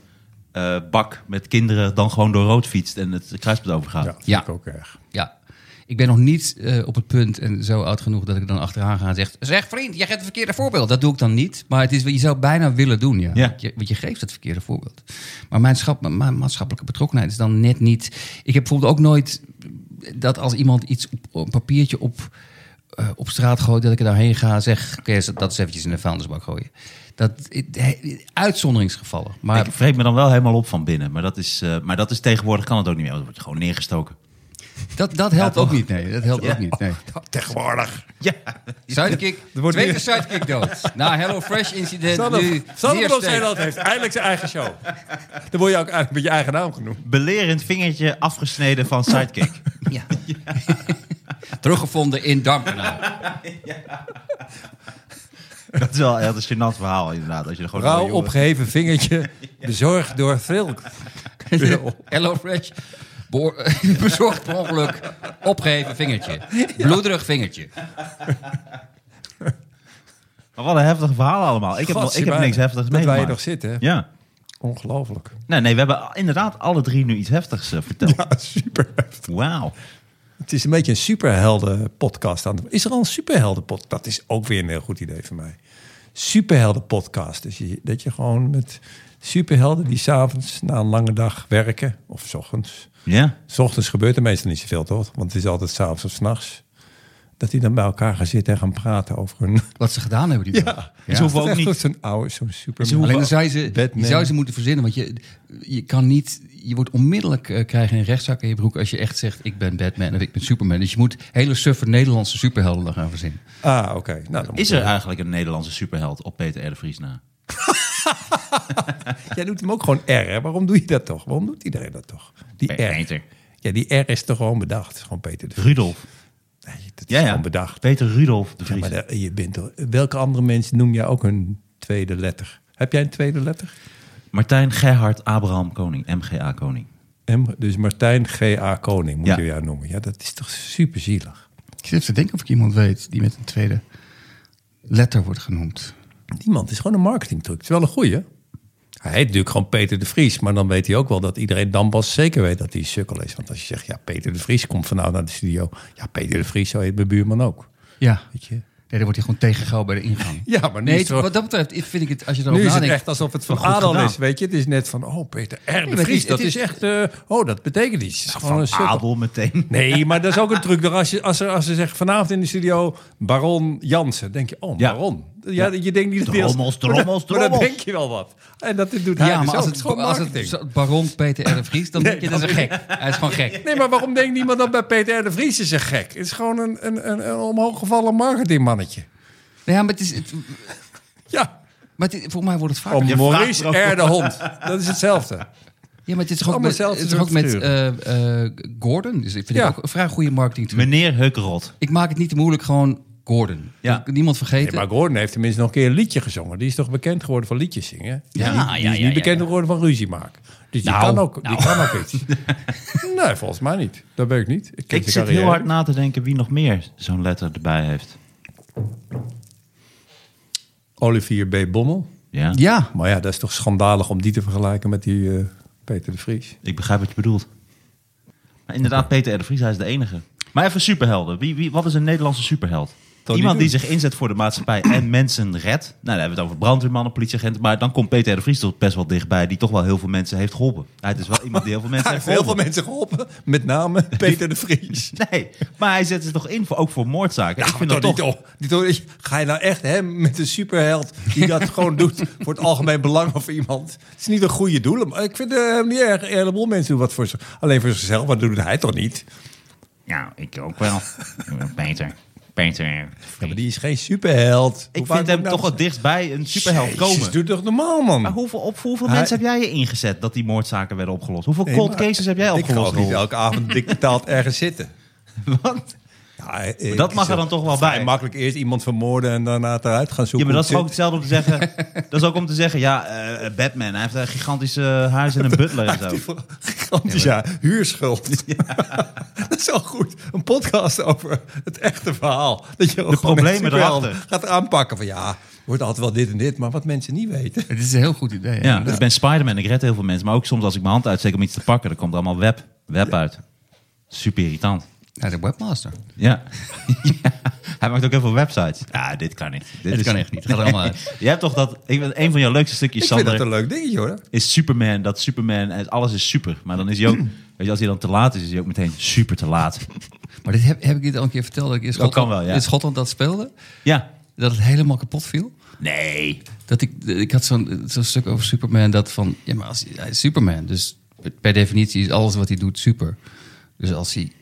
A: eh, bak met kinderen dan gewoon door rood fietst en het kruispunt overgaat.
B: Ja, vind
C: Ja.
B: ik ook erg.
C: Ja, ik ben nog niet eh, op het punt en zo oud genoeg dat ik dan achteraan ga en zeg... Zeg vriend, jij geeft het verkeerde voorbeeld. Dat doe ik dan niet, maar het is, je zou het bijna willen doen, ja.
A: Ja.
C: Want, je, want je geeft het verkeerde voorbeeld. Maar mijn, schap, mijn maatschappelijke betrokkenheid is dan net niet... Ik heb bijvoorbeeld ook nooit dat als iemand iets op, op een papiertje op, eh, op straat gooit... dat ik er daarheen ga en zeg, oké, dat is eventjes in de vuilnisbak gooien. Dat, eh, uitzonderingsgevallen. Maar
A: Ik vreet me dan wel helemaal op van binnen. Maar dat is, eh, maar dat is tegenwoordig kan het ook niet meer. want Dan word je gewoon neergestoken.
C: Dat, dat helpt ook niet, nee. Dat helpt ook niet, nee.
B: Tegenwoordig.
A: Ja,
C: Sidekick,
B: *laughs* Er wordt
C: tweede
B: weer-
C: sidekick dood. Na Hello Fresh incident nu
B: Sander, Sander
C: zeer
B: van
C: sterk.
B: Zeeland heeft eindelijk zijn eigen show. Dan word je ook eigenlijk met je eigen naam genoemd.
A: belerend vingertje afgesneden van
B: *laughs*
A: sidekick.
C: Ja. *laughs* Teruggevonden in Dampkanaal.
A: dat is wel ja, dat is een gênant verhaal inderdaad. Als je er gewoon
B: Rauw
A: Oh, jongen.
B: opgeheven vingertje, bezorgd door Thril.
C: Hello Fresh. *laughs* Boor- Bezorgd per ongeluk. Opgeheven vingertje. Bloederig vingertje.
A: Maar wat een heftige verhalen allemaal. Ik heb, nog- ik heb niks heftigs
B: Dat wij
A: meegemaakt.
B: nog zitten. hè?
A: Ja.
B: Ongelooflijk. *laughs*
A: Nee, nee, we hebben inderdaad alle drie nu iets heftigs eh, verteld.
B: super heftig.
A: Wauw.
B: Het is een beetje een superhelden podcast. Aan Is er al een superhelden podcast? Dat is ook weer een heel goed idee voor mij. Superhelden podcast. Dus je, dat je gewoon met superhelden die s'avonds na een lange dag werken. Of s ochtends.
A: Ja?
B: S ochtends gebeurt er meestal niet zoveel, toch? Want het is altijd s'avonds of s'nachts. Dat die dan bij elkaar gaan zitten en gaan praten over hun...
C: Wat ze gedaan hebben die dag.
A: Ze Dus hoeven
B: *laughs* Dat
A: ook
B: is echt
A: niet...
B: Zo'n oude, zo'n super...
C: Alleen dan zou je ze,
B: Batman.
C: je zou ze moeten verzinnen. Want je, je kan niet. Je wordt onmiddellijk eh, krijgen een rechtszaak in je broek als je echt zegt: Ik ben Batman of ik ben Superman. Dus je moet hele suffer Nederlandse superhelden dan gaan verzinnen.
B: Ah, oké. Nou, dan
A: Is er eigenlijk een Nederlandse superheld op Peter R. de Vries na?
B: Jij doet hem ook gewoon R, hè? Waarom doe je dat toch? Waarom doet iedereen dat toch? Die R.
A: Peter.
B: Ja, die R is toch gewoon bedacht. Het is gewoon Peter de Vries.
A: Rudolf.
B: Nee, dat is
A: Ja, ja.
B: gewoon bedacht.
A: Peter Rudolf de
B: Ja,
A: Vries.
B: maar daar- je bent toch, welke andere mensen noem jij ook een tweede letter? Heb jij een tweede letter?
A: Martijn Gerhard Abraham Koning. MGA Koning.
B: M, dus Martijn G.A. Koning moet
A: Ja.
B: je jou noemen. Ja, dat is toch super zielig.
C: Ik zit even te denken of ik iemand weet die met een tweede letter wordt genoemd.
B: Niemand, het is gewoon een marketingtruc. Het is wel een goeie. Hij heet natuurlijk gewoon Peter de Vries, maar dan weet hij ook wel dat iedereen dan pas zeker weet dat hij een sukkel is. Want als je zegt, ja, Peter de Vries komt vanavond naar de studio. Ja, Peter de Vries, zo heet mijn buurman ook.
C: Ja.
B: Weet je?
C: Nee, dan wordt hij gewoon tegengehouden bij de ingang.
B: *laughs* Ja, maar nu
C: nee,
B: is het wel-
C: wat dat betreft vind ik het, als je
B: Nu
C: erover
B: is het
C: nadenkt.
B: echt alsof het van
C: wel goed
B: Adel
C: gedaan.
B: is, weet je. Het is net van, oh, Peter R.
C: maar
B: de
C: het
B: Vries,
C: is-
B: dat
C: het
B: is
C: is-
B: echt... eh, oh, dat betekent iets. Het is gewoon een sukkel.
A: Abel meteen.
B: Nee, maar dat is ook een truc. Door Als, je, als, ze, als ze zeggen vanavond in de studio Baron Jansen, denk je, oh,
A: Ja.
B: Baron. Ja, je denkt niet dat die als-
A: Drommels, drommels,
B: *laughs* Maar dan- Maar dan
A: drommels.
B: denk je wel wat. En dat doet hij
C: Ja,
B: dus ook.
C: maar als
B: is
C: het,
B: gewoon
C: als
B: marketing.
C: het baron Peter R. de
B: *laughs*
C: Vries, dan denk je dat is een gek. Hij is gewoon gek.
B: Nee, maar waarom denkt niemand dat bij Peter R. de Vries is een gek? Het is gewoon een, een, een, een omhooggevallen marketingmannetje.
C: Nou Ja, maar het is, het,
B: Ja,
C: maar het is- volgens mij wordt het vaak.
B: om
A: vraagt
B: Maurice
A: er ook
B: R. de Hond. Dat is hetzelfde.
C: *laughs* Ja, maar het is toch ook
B: Allemaal
C: met, het
B: zelfde
C: is toch ook
B: soort
C: met eh, eh, Gordon. Dus ik vind
B: Ja.
C: ik ook een vrij goede marketing.
A: Meneer Heukerot.
C: Ik maak het niet te moeilijk, gewoon Gordon.
A: Ja.
C: Ik- Niemand
B: Nee,
C: vergeten.
B: maar Gordon heeft tenminste nog een keer een liedje gezongen. Die is toch bekend geworden van liedjes zingen?
C: Ja,
B: die,
C: ja,
B: die
C: ja,
B: is
C: ja,
B: niet bekend
C: ja.
B: geworden van ruzie maken. Dus die,
A: Nou,
B: kan, ook, die kan ook
C: *laughs*
B: iets. nee, volgens mij niet. Dat weet ik niet. Ik, ken
A: Ik
B: zijn
A: zit heel
B: carrière.
A: hard na te denken wie nog meer zo'n letter erbij heeft.
B: Olivier B. Bommel.
A: Ja?
C: ja.
B: Maar ja, dat is toch schandalig om die te vergelijken met die eh, Peter de Vries.
A: Ik begrijp wat je bedoelt. Maar inderdaad, Peter R. de Vries, hij is de enige. Maar even superhelden. Wie, wie, wat is een Nederlandse superheld?
B: Tony
A: Iemand die
B: Doen.
A: zich inzet voor de
B: *clears throat*
A: maatschappij en mensen redt. Nou, dan hebben we het over brandweermannen, politieagenten. Maar dan komt Peter R. de Vries toch best wel dichtbij, die toch wel heel veel mensen heeft geholpen. Hij is wel iemand die
B: *laughs*
A: heel veel mensen
B: Hij
A: heeft
B: heeft heel veel
A: geholpen.
B: mensen geholpen. Met name Peter de Vries.
A: Nee, maar hij zet zich toch in, voor, ook voor moordzaken. ik vind
B: maar
A: dat toch...
B: niet op. Niet op. Ga je nou echt hem met een superheld die
A: *laughs*
B: dat gewoon doet voor het algemeen belang of iemand? Het is niet een goede doel, maar ik vind eh, hem niet erg. Een heleboel mensen doen wat voor zich, alleen voor zichzelf, maar dat doet hij toch niet?
D: Ja, ik ook
B: *laughs*
D: wel. Peter. Peter.
B: Ja, maar die is geen superheld.
A: Ik vind hem toch
B: een
A: wel dichtbij een superheld komen.
B: nou doe toch normaal, man.
A: Maar hoeveel, op, hoeveel
B: Hij-
A: mensen heb jij je ingezet dat die moordzaken werden opgelost? Hoeveel
B: Nee,
A: cold
B: maar-
A: cases heb jij
B: ik ga
A: opgelost?
B: ook niet
A: Roel?
B: elke avond dik betaald ergens
A: *laughs*
B: zitten.
A: Want-
B: Ja, eh,
A: dat mag
B: ik-
A: er dan toch wel
B: vrij
A: bij.
B: Makkelijk eerst iemand vermoorden en daarna het eruit gaan
A: Ja,
B: zoeken.
A: maar dat is
B: hoe
A: ook
B: het
A: hetzelfde om te zeggen. dat is ook om te zeggen, ja, eh, Batman. Hij heeft een gigantisch eh, huis en een butler en zo.
B: zit. Gigantisch, ja. *laughs* Huurschuld. dat is wel goed. Een podcast over het echte verhaal. Dat je gewoon echt
A: problemen
B: superhelden
A: erachter.
B: gaat aanpakken. Van ja, wordt altijd wel dit en dit, maar wat mensen niet weten.
C: Het is een heel goed idee.
A: Ja, ik ben Spider-Man, ik red heel veel mensen. Maar ook soms als ik mijn hand uitsteek om iets te pakken, dan komt er allemaal web, web uit. Super irritant.
C: Ja, de webmaster.
A: Ja. *laughs* Ja. Hij maakt ook heel veel websites. Ja, dit kan niet. Dit
C: Dit
A: is-
C: kan echt niet. Het gaat er allemaal
A: *laughs*
C: uit.
A: Jij hebt toch dat... Ik, ben- een van jouw leukste stukjes,
B: Ik vind
A: Sander,
B: dat een leuk dingetje hoor.
A: is Superman. Dat Superman, eh, alles is super. Maar dan is hij ook... Weet je, als hij dan te laat is, is hij ook meteen super te laat.
C: Maar dit heb, heb ik dit al een keer verteld dat ik in Schotland,
A: kan wel, ja.
C: in Schotland dat speelde.
A: Ja.
C: Dat het helemaal kapot viel.
A: Nee.
C: Dat ik, ik had zo'n zo'n stuk over Superman. Dat van, ja, maar als, hij is Superman. Dus per definitie is alles wat hij doet super. Dus als hij,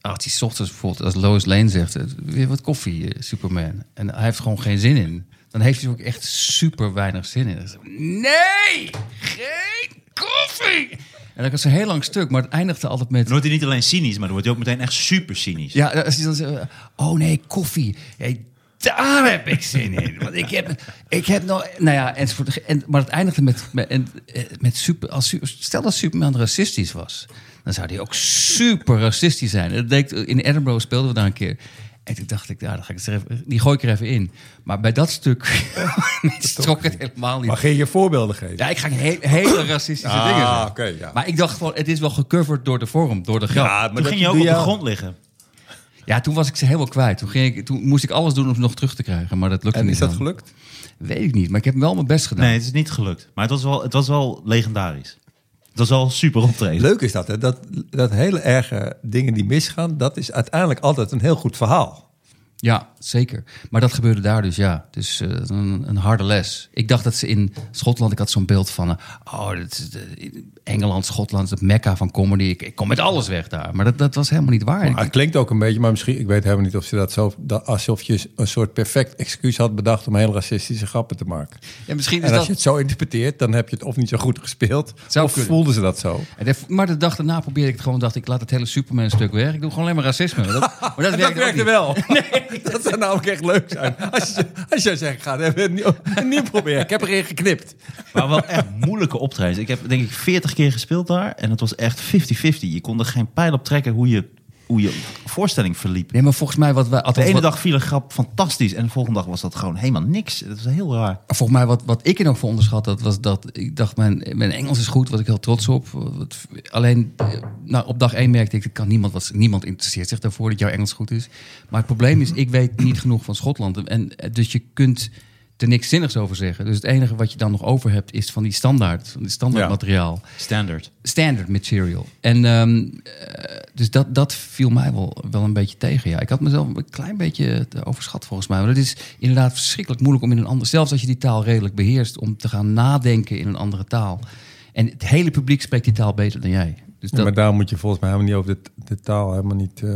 C: als hij 's ochtends bijvoorbeeld, als Lois Lane zegt, eh, weer wat koffie, eh, Superman. En hij heeft gewoon geen zin in. Dan heeft hij ook echt super weinig zin in. Dan zegt hij, nee, geen koffie! En dat was een heel lang stuk, maar het eindigde altijd met...
A: Dan wordt hij niet alleen cynisch, maar dan wordt hij ook meteen echt super cynisch.
C: Ja, als hij dan zegt, oh nee, koffie. Hey, daar heb ik zin
B: *laughs*
C: in. Want ik heb, ik heb nog, nou ja, enzovoort. En, maar het eindigde met, met, en, eh, met super, als, su- stel dat Superman racistisch was. Dan zou hij ook super racistisch zijn. En Dat deed, in Edinburgh speelden we daar een keer. En toen dacht ik, nou, dan ga ik het er even, die gooi ik er even in. Maar bij
B: *laughs*
C: dat stuk *laughs* trok het helemaal niet.
B: Maar ging je voorbeelden geven?
C: Ja, ik ga geen he- hele racistische
B: Ah,
C: dingen zeggen.
B: oké, ja.
C: Maar ik dacht gewoon, het is wel gecoverd door de vorm, door de grap.
B: Ja,
A: Toen
B: dat
A: ging je ook
B: doe
A: op de
B: al.
A: grond liggen.
C: Ja, toen was ik ze helemaal kwijt. Toen, ging ik, toen moest ik alles doen om ze nog terug te krijgen, maar dat lukte
B: En
C: niet.
B: is dat
C: dan.
B: gelukt?
C: Weet ik niet, maar ik heb wel mijn best gedaan.
A: Nee, het is niet gelukt. Maar het was wel, het was wel legendarisch. Het was wel super optreden.
B: Leuk is dat, hè? Dat, dat hele erge dingen die misgaan, dat is uiteindelijk altijd een heel goed verhaal.
C: Ja, zeker. Maar dat gebeurde daar dus, ja. Dus eh, een, een harde les. Ik dacht dat ze in Schotland, ik had zo'n beeld van... eh, oh, dat is de- Engeland, Schotland, het mekka van comedy. Ik, ik kom met alles weg daar. Maar dat, dat was helemaal niet waar.
B: Maar
C: Ik-
B: het klinkt ook een beetje, maar misschien, ik weet helemaal niet of ze dat zo, dat, alsof je een soort perfect excuus had bedacht om heel racistische grappen te maken.
C: ja, misschien
B: En
C: is
B: als
C: dat...
B: je het zo interpreteert, dan heb je het of niet zo goed gespeeld,
C: Zou
B: of
C: kunnen.
B: voelden ze dat zo.
C: En de- maar de dag daarna probeerde ik het gewoon. dacht ik, laat het hele Superman-stuk weg. Ik doe gewoon alleen maar racisme. Maar dat,
B: *laughs*
C: maar dat
B: En
C: werkte ook
B: *laughs*
C: niet.
B: wel. dat zou namelijk echt leuk zijn. Als je, als je zou zeggen, ga het even nieuw, nieuw proberen. Ik heb erin geknipt.
A: Maar wel echt moeilijke optredens. Ik heb denk ik 40 keer gespeeld daar. En het was echt 50-50. Je kon er geen pijl op trekken hoe je, hoe je voorstelling verliep.
C: Nee, maar volgens mij wat wij...
A: De
C: althans
A: ene
C: wat-
A: dag viel een grap fantastisch. En de volgende dag was dat gewoon helemaal niks. Dat was heel raar.
C: Volgens mij, wat, wat ik er nog voor onderschat, dat was dat ik dacht, mijn, mijn Engels is goed, wat ik heel trots op. Wat- alleen eh, nou, op dag één merkte ik, dat kan niemand, wat, niemand interesseert zich daarvoor dat jouw Engels goed is. Maar het probleem is, ik weet niet genoeg van Schotland. En, eh, dus je kunt er niks zinnigs over zeggen. Dus het enige wat je dan nog over hebt, is van die standaard, van die standaard
B: Ja.
C: materiaal.
A: Standard.
C: Standard material. En ehm, eh, dus dat, dat viel mij wel, wel een beetje tegen. Ja. Ik had mezelf een klein beetje te overschat volgens mij. Maar het is inderdaad verschrikkelijk moeilijk om in een ander... Zelfs als je die taal redelijk beheerst, om te gaan nadenken in een andere taal. En het hele publiek spreekt die taal beter dan jij. Dus dat,
B: maar daar moet je volgens mij helemaal niet over de, de taal helemaal niet... eh,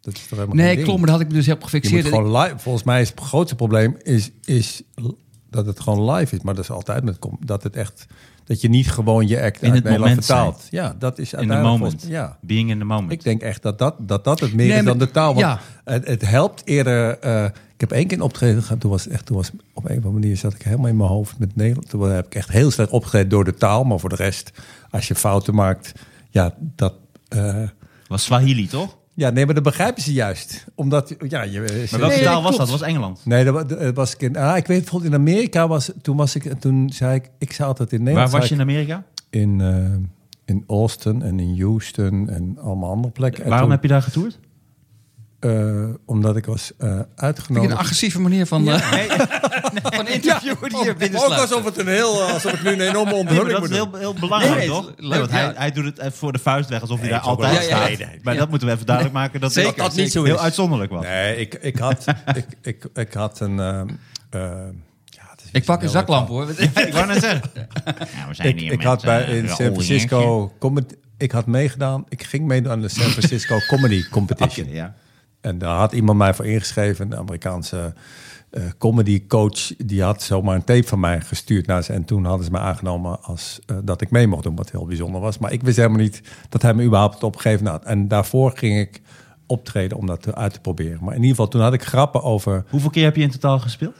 B: dat is toch helemaal geen
C: nee,
B: ding?
C: klopt, maar daar had ik me dus op
B: Je moet
C: gefixeerd. En ik-
B: gewoon live. Volgens mij is het grootste probleem is, is l- dat het gewoon live is. Maar dat is altijd met com- dat het echt dat je niet gewoon je act
A: In
B: uit
A: het
B: Nederland
A: moment
B: vertaalt. Ja, dat is
A: In the
B: uiteindelijk
A: moment.
B: volgens- ja.
A: Being in the moment.
B: Ik denk echt dat dat, dat, dat het meer
C: Nee,
B: is dan
C: maar-
B: de taal. Want
C: ja.
B: het, het helpt eerder. eh, ik heb één keer een optreden gehad. Toen was het echt, toen was op een of andere manier zat ik helemaal in mijn hoofd met Nederland. Toen heb ik echt heel slecht opgetreden door de taal. Maar voor de rest, als je fouten maakt, ja, dat. eh,
A: was Swahili, toch?
B: ja, nee, maar dat begrijpen ze juist. Omdat, ja, je,
A: Maar welke
C: Nee,
A: taal
C: dat
A: was dat?
C: klopt.
A: was Engeland.
B: Nee, dat wa- dat was ik in. Ah, ik weet bijvoorbeeld in Amerika was. Toen was ik. Toen zei ik. Ik zei altijd in
A: Waar
B: Nederland.
A: was je
B: zei
A: in Amerika?
B: ik in? eh, in Austin en in Houston en allemaal andere plekken. En
A: Waarom
B: toen,
A: heb je daar getoerd?
B: eh, omdat ik was eh,
C: vind ik
B: uitgenodigd.
C: een agressieve manier van, eh, *laughs* van interviewen die je binnen
B: het een heel. oh, eh, Alsof ik nu een enorme
A: *laughs* Nee, maar dat is heel, heel belangrijk,
C: Nee,
A: toch?
C: het is
A: Nee, want
C: leuk,
A: hij,
C: ja.
A: hij doet het even voor de vuist weg, alsof hij daar altijd
C: wel- Ja, ja,
A: staat.
C: ja, ja.
A: Maar
C: Ja.
A: dat moeten we even
B: *laughs*
A: duidelijk maken dat
C: Zeker,
A: dat, dat niet
C: zeker.
A: zo heel uitzonderlijk was.
B: Nee, ik, ik, had, ik, ik, ik had een. ehm, ehm, ja, het is
C: Ik pak een zaklamp hoor.
A: Ik
C: *laughs*
A: wou net *laughs* zeggen.
D: Ja, we zijn
B: Ik,
D: hier
B: ik
D: met,
B: had bij
D: eh,
B: in
D: Raoul
B: San
D: Jensen.
B: Francisco. Comedy, ik had meegedaan. Ik ging meedoen aan de San
D: *laughs*
B: Francisco Comedy Competition.
A: Ja.
B: En daar had iemand mij voor ingeschreven, een Amerikaanse comedycoach, comedy coach. Die had zomaar een tape van mij gestuurd naar ze. En toen hadden ze me aangenomen als, eh, dat ik mee mocht doen, wat heel bijzonder was. Maar ik wist helemaal niet dat hij me überhaupt het opgegeven had. En daarvoor ging ik optreden om dat te- uit te proberen. Maar in ieder geval, toen had ik grappen over...
A: Hoeveel keer heb je in totaal gespeeld?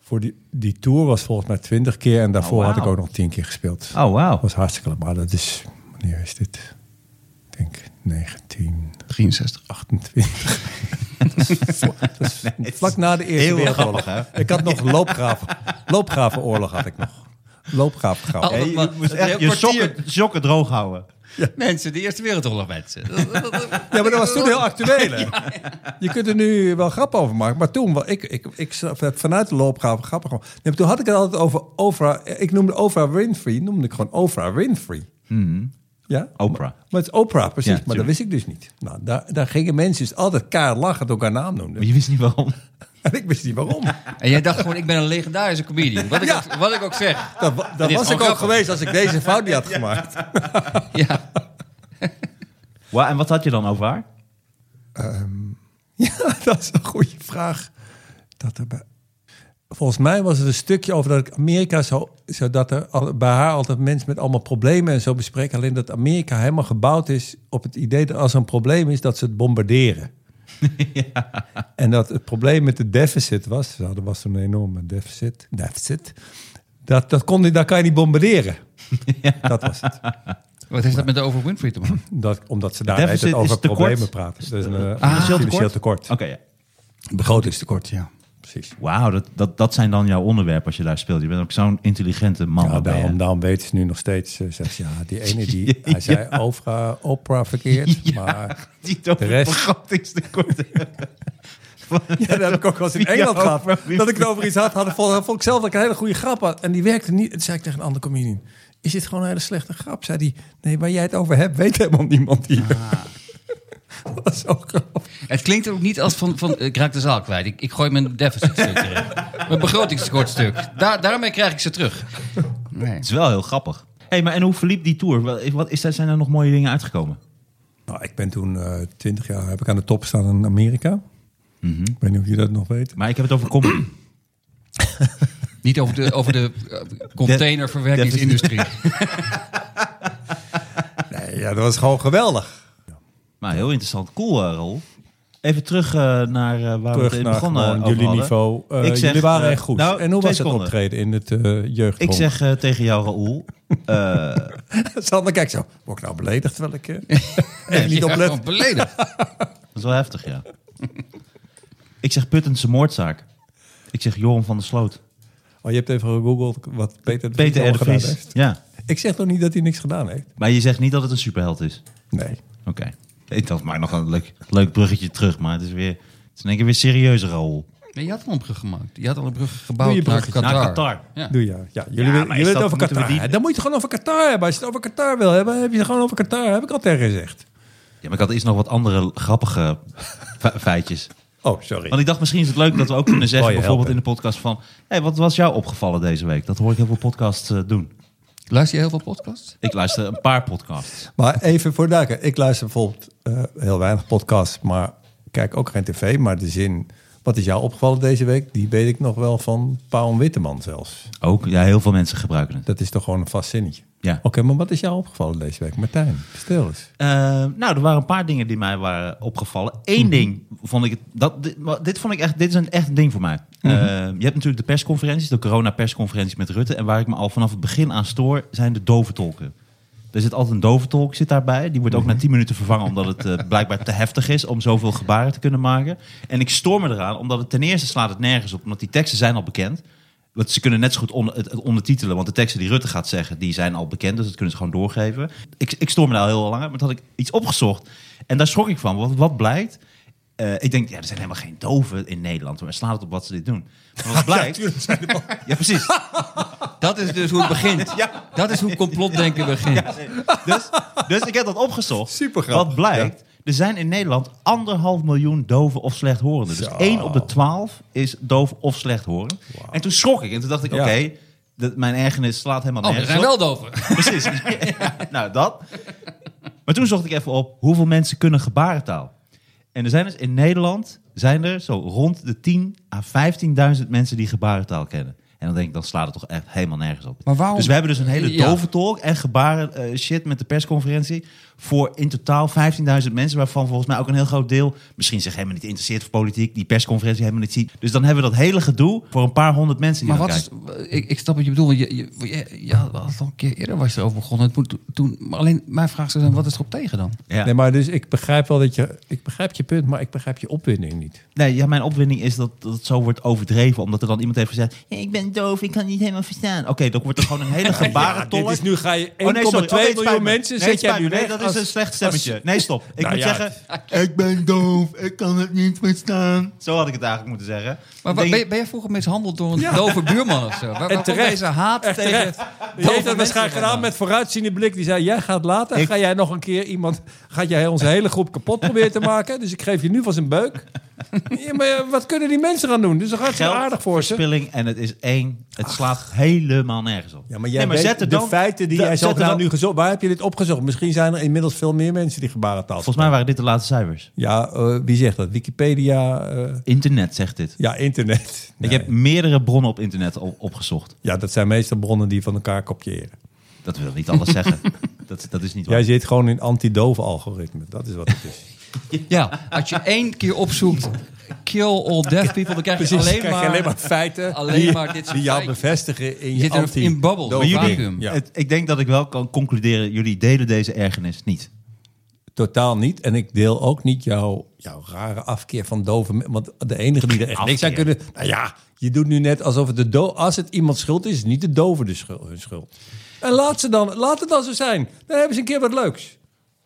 B: Voor die, die tour was volgens mij twintig keer. En daarvoor
A: Oh, wauw.
B: had ik ook nog tien keer gespeeld.
A: Oh, wauw.
B: Dat was hartstikke leuk. Maar dat is... Wanneer is dit? Ik denk 19...
C: 63.
B: 28.
A: *laughs*
B: dat is vlak na de Eerste
A: heel
B: Wereldoorlog.
A: grappig,
B: ik had nog loopgraven, loopgravenoorlog had ik nog. Loopgravengraving.
C: Oh.
A: Je, je moest
C: Een heel
A: echt je
C: kwartier.
A: sokken, sokken droog houden.
C: Mensen, de Eerste Wereldoorlog mensen. *laughs*
B: Ja, maar dat was toen heel actueel. hè? Je kunt er nu wel grap over maken. Maar toen, wa- ik, ik, ik heb vanuit de loopgraven grappen gewoon. Nee, maar toen had ik het altijd over Oprah. Ik noemde Oprah Winfrey, noemde ik gewoon Oprah Winfrey. Ja?
A: Hmm. Oprah.
B: Maar het is Oprah, precies.
A: Ja,
B: maar
A: tuurlijk.
B: dat wist ik dus niet. Nou, daar, daar gingen mensen dus altijd kaart lachen door haar naam noemden.
A: Maar je wist niet waarom.
B: *laughs* En ik wist niet waarom.
C: En jij dacht gewoon, ik ben een legendarische comedian. Wat ik, ook, wat ik ook zeg.
B: Dat, wa- dat
C: is
B: was
C: gewoon
B: ik ook
C: grappig.
B: geweest als ik deze fout niet had
C: *laughs*
B: gemaakt.
C: Ja.
A: Wa- en wat had je dan over haar?
B: Ja, *laughs* dat is een goede vraag. Dat er bij... Volgens mij was het een stukje over dat ik Amerika zo, zodat er al- bij haar altijd mensen met allemaal problemen en zo bespreken. Alleen dat Amerika helemaal gebouwd is op het idee dat als er een probleem is, dat ze het
A: *laughs*
B: bombarderen. En dat het probleem met de deficit was, ze hadden was toen een enorme deficit. Deficit. Dat, dat kon, niet- daar kan je niet
A: *laughs*
B: bombarderen. Dat was het.
C: Wat heeft dat met de over Winfrey te maken?
B: Dat, omdat ze daar
A: Deficit
B: altijd
A: is
B: over
A: tekort. Ah.
B: problemen praten. Dus een eh,
A: Financieel
B: financieel tekort.
A: Oké, ja.
B: Begrotingstekort,
C: Ja.
B: precies.
A: Wauw, dat, dat, dat zijn dan jouw onderwerpen als je daar speelt. Je bent ook zo'n intelligente man.
B: Nou, Ja,
A: wat ben je.
B: daarom, daarom weten ze nu nog steeds, eh, zegt ze, ja, die ene *laughs* die, hij zei Oprah, Oprah *laughs* verkeerd,
A: *laughs*
B: maar
A: die toch
B: de rest-
A: begrotingstekort.
B: *laughs* Ja, dat heb ik ook wel eens in
A: Ja,
B: Engeland gehad.
A: maar wie-
B: Dat ik het over iets had, had vond, vond ik zelf dat ik een hele goede grap had. En die werkte niet. Toen zei ik tegen een andere comedian, is dit gewoon een hele slechte grap? Zei die, nee, waar jij het over hebt, weet helemaal niemand hier. *laughs* Dat is ook grappig.
C: Het klinkt ook niet als van, van ik raak de zaal kwijt. Ik, ik gooi mijn deficitstuk erin. Mijn begrotingstekortstuk. Daar, daarmee krijg ik ze terug. Nee.
A: Het is wel heel grappig. hey, maar en hoe verliep die tour? Wel, Wat is daar, zijn er nog mooie dingen uitgekomen?
B: Nou, ik ben toen twintig jaar, heb ik aan de top staan in Amerika. Ik weet niet of jullie dat nog weten.
A: Maar ik heb het over comedy. *clears throat*
C: Niet over de, over de eh, *laughs* containerverwerkingsindustrie.
B: Nee, ja, dat was gewoon geweldig.
A: Maar heel interessant. Cool, eh, Rol. Even terug eh, naar eh, waar we
B: Terug
A: het
B: naar
A: begonnen
B: gewoon jullie niveau. Eh,
A: Ik zeg,
B: jullie waren
A: eh,
B: echt goed.
A: nou,
B: en
A: twee
B: hoe was het
A: seconden.
B: optreden in het eh jeugd?
A: Ik zeg eh, tegen jou, Raoul. eh,
B: *laughs* Sander, kijk zo. Word ik nou beledigd terwijl
A: *laughs*
B: ik... eh, even niet
C: Ja,
B: oplet.
C: gewoon beledigd.
A: dat is wel heftig, ja. ik zeg Puttense moordzaak. Ik zeg Joram van der Sloot.
B: Oh, je hebt even gegoogeld wat Peter, de Vries
A: Peter R.
B: allemaal
A: de
B: gedaan
A: Vries.
B: heeft.
A: Ja.
B: Ik zeg toch niet dat hij niks gedaan heeft?
A: Maar je zegt niet dat het een superheld is.
B: Nee.
A: Oké. Ik dacht, maar nog een leuk, leuk bruggetje terug. Maar het is weer... Het is in één keer weer serieuze Raoul.
C: Nee, je had al een brug gemaakt. Je had al een brug
B: Doe je
C: gebouwd naar
B: bruggetje.
C: Qatar.
A: Naar Qatar.
C: Ja.
B: Doe je. Ja,
A: maar
B: jullie willen
A: is
B: jullie het
A: dat-
B: over
A: moeten we
B: Qatar.
A: die-
B: hebben. Dan moet je het gewoon over Qatar hebben. Als je het over Qatar wil hebben, heb je het gewoon over Qatar. Heb ik al tegen gezegd.
A: Ja, maar ik had eerst nog wat andere grappige *laughs* fe- feitjes.
B: Oh, sorry.
A: Want ik dacht, misschien is het leuk dat we *clears throat* ook kunnen zeggen,
B: Oh, je
A: bijvoorbeeld in de
B: helpen.
A: podcast van... hey, wat was jou opgevallen deze week? Dat hoor ik heel veel podcasts eh, doen.
C: Luister je heel veel podcasts?
A: Ik luister een paar podcasts.
B: Maar even voor duiken. Ik luister bijvoorbeeld eh, heel weinig podcasts, maar kijk ook geen tv. Maar de zin, wat is jou opgevallen deze week? Die weet ik nog wel van Paul Witteman zelfs.
A: Ook, ja, heel veel mensen gebruiken het.
B: Dat is toch gewoon een vast zinnetje.
A: Ja.
B: Oké, maar wat is jou opgevallen deze week? Martijn, stil eens.
A: Eh, nou, er waren een paar dingen die mij waren opgevallen. Eén ding vond ik, het- dat, dit, maar dit vond ik echt, dit is een echt ding voor mij. Eh, je hebt natuurlijk de persconferenties, de corona-persconferenties met Rutte. En waar ik me al vanaf het begin aan stoor, zijn de doventolken. Er zit altijd een doventolk zit daarbij. Die wordt ook na 10 minuten vervangen omdat het eh, blijkbaar te heftig is om zoveel gebaren te kunnen maken. En ik stoor me eraan omdat het ten eerste slaat het nergens op, omdat die teksten zijn al bekend. Want ze kunnen net zo goed on- het, het ondertitelen, want de teksten die Rutte gaat zeggen, die zijn al bekend, dus dat kunnen ze gewoon doorgeven. Ik, ik stoor me daar al heel lang aan, maar toen had ik iets opgezocht en daar schrok ik van. Wat, wat blijkt? Eh, ik denk, ja, er zijn helemaal geen doven in Nederland. Maar slaat het op wat ze dit doen.
C: *laughs*
A: Maar wat blijkt? *laughs* ja precies.
C: Dat is dus hoe het begint.
A: Ja.
C: Dat is hoe complotdenken begint.
A: dus, dus ik heb dat opgezocht.
B: Super grappig,
A: Wat blijkt, er zijn in Nederland anderhalf miljoen doven of slechthorenden. Dus één op de twaalf is doof of slechthorend. En toen schrok ik en toen dacht ik,
B: Ja.
A: oké, dat mijn ergernis slaat helemaal
C: Oh, er
A: nergens
C: zijn
A: op.
C: wel doven.
A: Precies. Ja, nou, dat. Maar toen zocht ik even op hoeveel mensen kunnen gebarentaal. En er zijn dus in Nederland zijn er zo rond de 10 à 15.000 mensen die gebarentaal kennen. En dan denk ik, dan slaat het toch echt helemaal nergens op.
C: Maar waarom-
A: Dus we hebben dus een hele
C: Ja.
A: dove tolk en gebaren eh, shit met de persconferentie. Voor in totaal 15.000 mensen, waarvan volgens mij ook een heel groot deel misschien zich helemaal niet interesseert voor politiek. Die persconferentie helemaal niet ziet. Dus dan hebben we dat hele gedoe voor een paar honderd mensen die
C: Maar
A: dan
C: wat is,
A: kijken.
C: ik, ik snap wat je bedoelt. want Je, je, je- ja, al een keer eerder was je erover begonnen. Het moet toen, maar alleen mijn vraag zou zijn, wat is erop tegen dan?
A: Ja.
B: Nee, maar dus ik begrijp wel dat je... Ik begrijp je punt, maar ik begrijp je opwinding niet.
A: Nee, ja, mijn opwinding is dat, dat het zo wordt overdreven. Omdat er dan iemand heeft gezegd... "Ja, ik ben doof, ik kan het niet helemaal verstaan. Oké, dan wordt er gewoon een
B: *laughs*
A: hele gebarentolk.
B: dit is nu ga je 1,2
A: Oh, sorry. het spijt
B: miljoen
A: me.
B: mensen
A: Nee,
B: zet
A: het spijt
B: jij
A: me.
B: nu
A: Nee,
B: weg
A: dat
B: als-
A: is een slecht stemmetje.
B: als-
A: nee, stop. Ik
B: Nou
A: moet
B: ja,
A: zeggen...
B: *laughs*
A: Ik ben doof, ik kan het niet verstaan. Zo had ik het eigenlijk moeten zeggen.
C: Maar wa-
A: Denk-
C: ben, je- ben jij vroeger mishandeld door een dove buurman of zo? Waar, waar komt
B: terecht.
C: deze
B: *laughs*
C: haat
B: Echt
C: tegen
B: terecht. Die
C: dove
B: heeft dat waarschijnlijk
C: mensen
B: gedaan
C: vandaan?
B: met vooruitziende blik. Die zei, jij gaat later, ga jij nog een keer iemand... Gaat jij onze hele groep kapot proberen te maken? Dus ik geef je nu vast een
A: *laughs*
B: beuk. Ja, maar eh, wat kunnen die mensen gaan doen? Dus dan gaat ze
A: Geld,
B: aardig voor ze.
A: verspilling en het is één. Het slaat helemaal nergens op.
B: Ja, maar
A: Nee,
B: jij
A: zet er
B: de
A: dan-
B: feiten die
A: da-
B: jij
A: zet
B: zo
A: er dan-
B: nu gezocht... Waar heb je dit opgezocht? Misschien zijn er inmiddels veel meer mensen die gebarentaal
A: Volgens mij waren dit de laatste cijfers.
B: Ja, eh, wie zegt dat? Wikipedia? eh,
A: Internet zegt dit.
B: ja, internet.
A: Ik
B: Nee.
A: heb meerdere bronnen op internet op- opgezocht.
B: Ja, dat zijn meestal bronnen die van elkaar kopiëren.
A: Dat wil niet alles
B: *laughs*
A: zeggen. Dat, dat is niet waar.
B: Jij zit gewoon in anti-dove algoritme. Dat is wat het is.
C: Ja, als je één keer opzoekt, kill all deaf people, dan krijg je,
B: Precies,
C: alleen,
B: krijg je
C: maar,
B: alleen maar feiten
C: alleen
B: die,
C: maar dit soort
B: die jou
C: feiten.
B: bevestigen in je,
C: zit in een-
B: anti
C: in babbel,
B: dove
C: Maar jullie-
B: ding.
C: vacuüm.
B: Ja.
A: Het- ik denk dat ik wel kan concluderen, jullie delen deze ergernis niet.
B: Totaal niet. En ik deel ook niet jouw, jouw rare afkeer van dove mensen. Want de enige die er echt niks aan kunnen... Nou ja, je doet nu net alsof het de do als het iemand schuld is, is niet de doven de schuld, hun schuld. En laat, ze dan, laat het dan zo zijn. Dan hebben ze een keer wat leuks.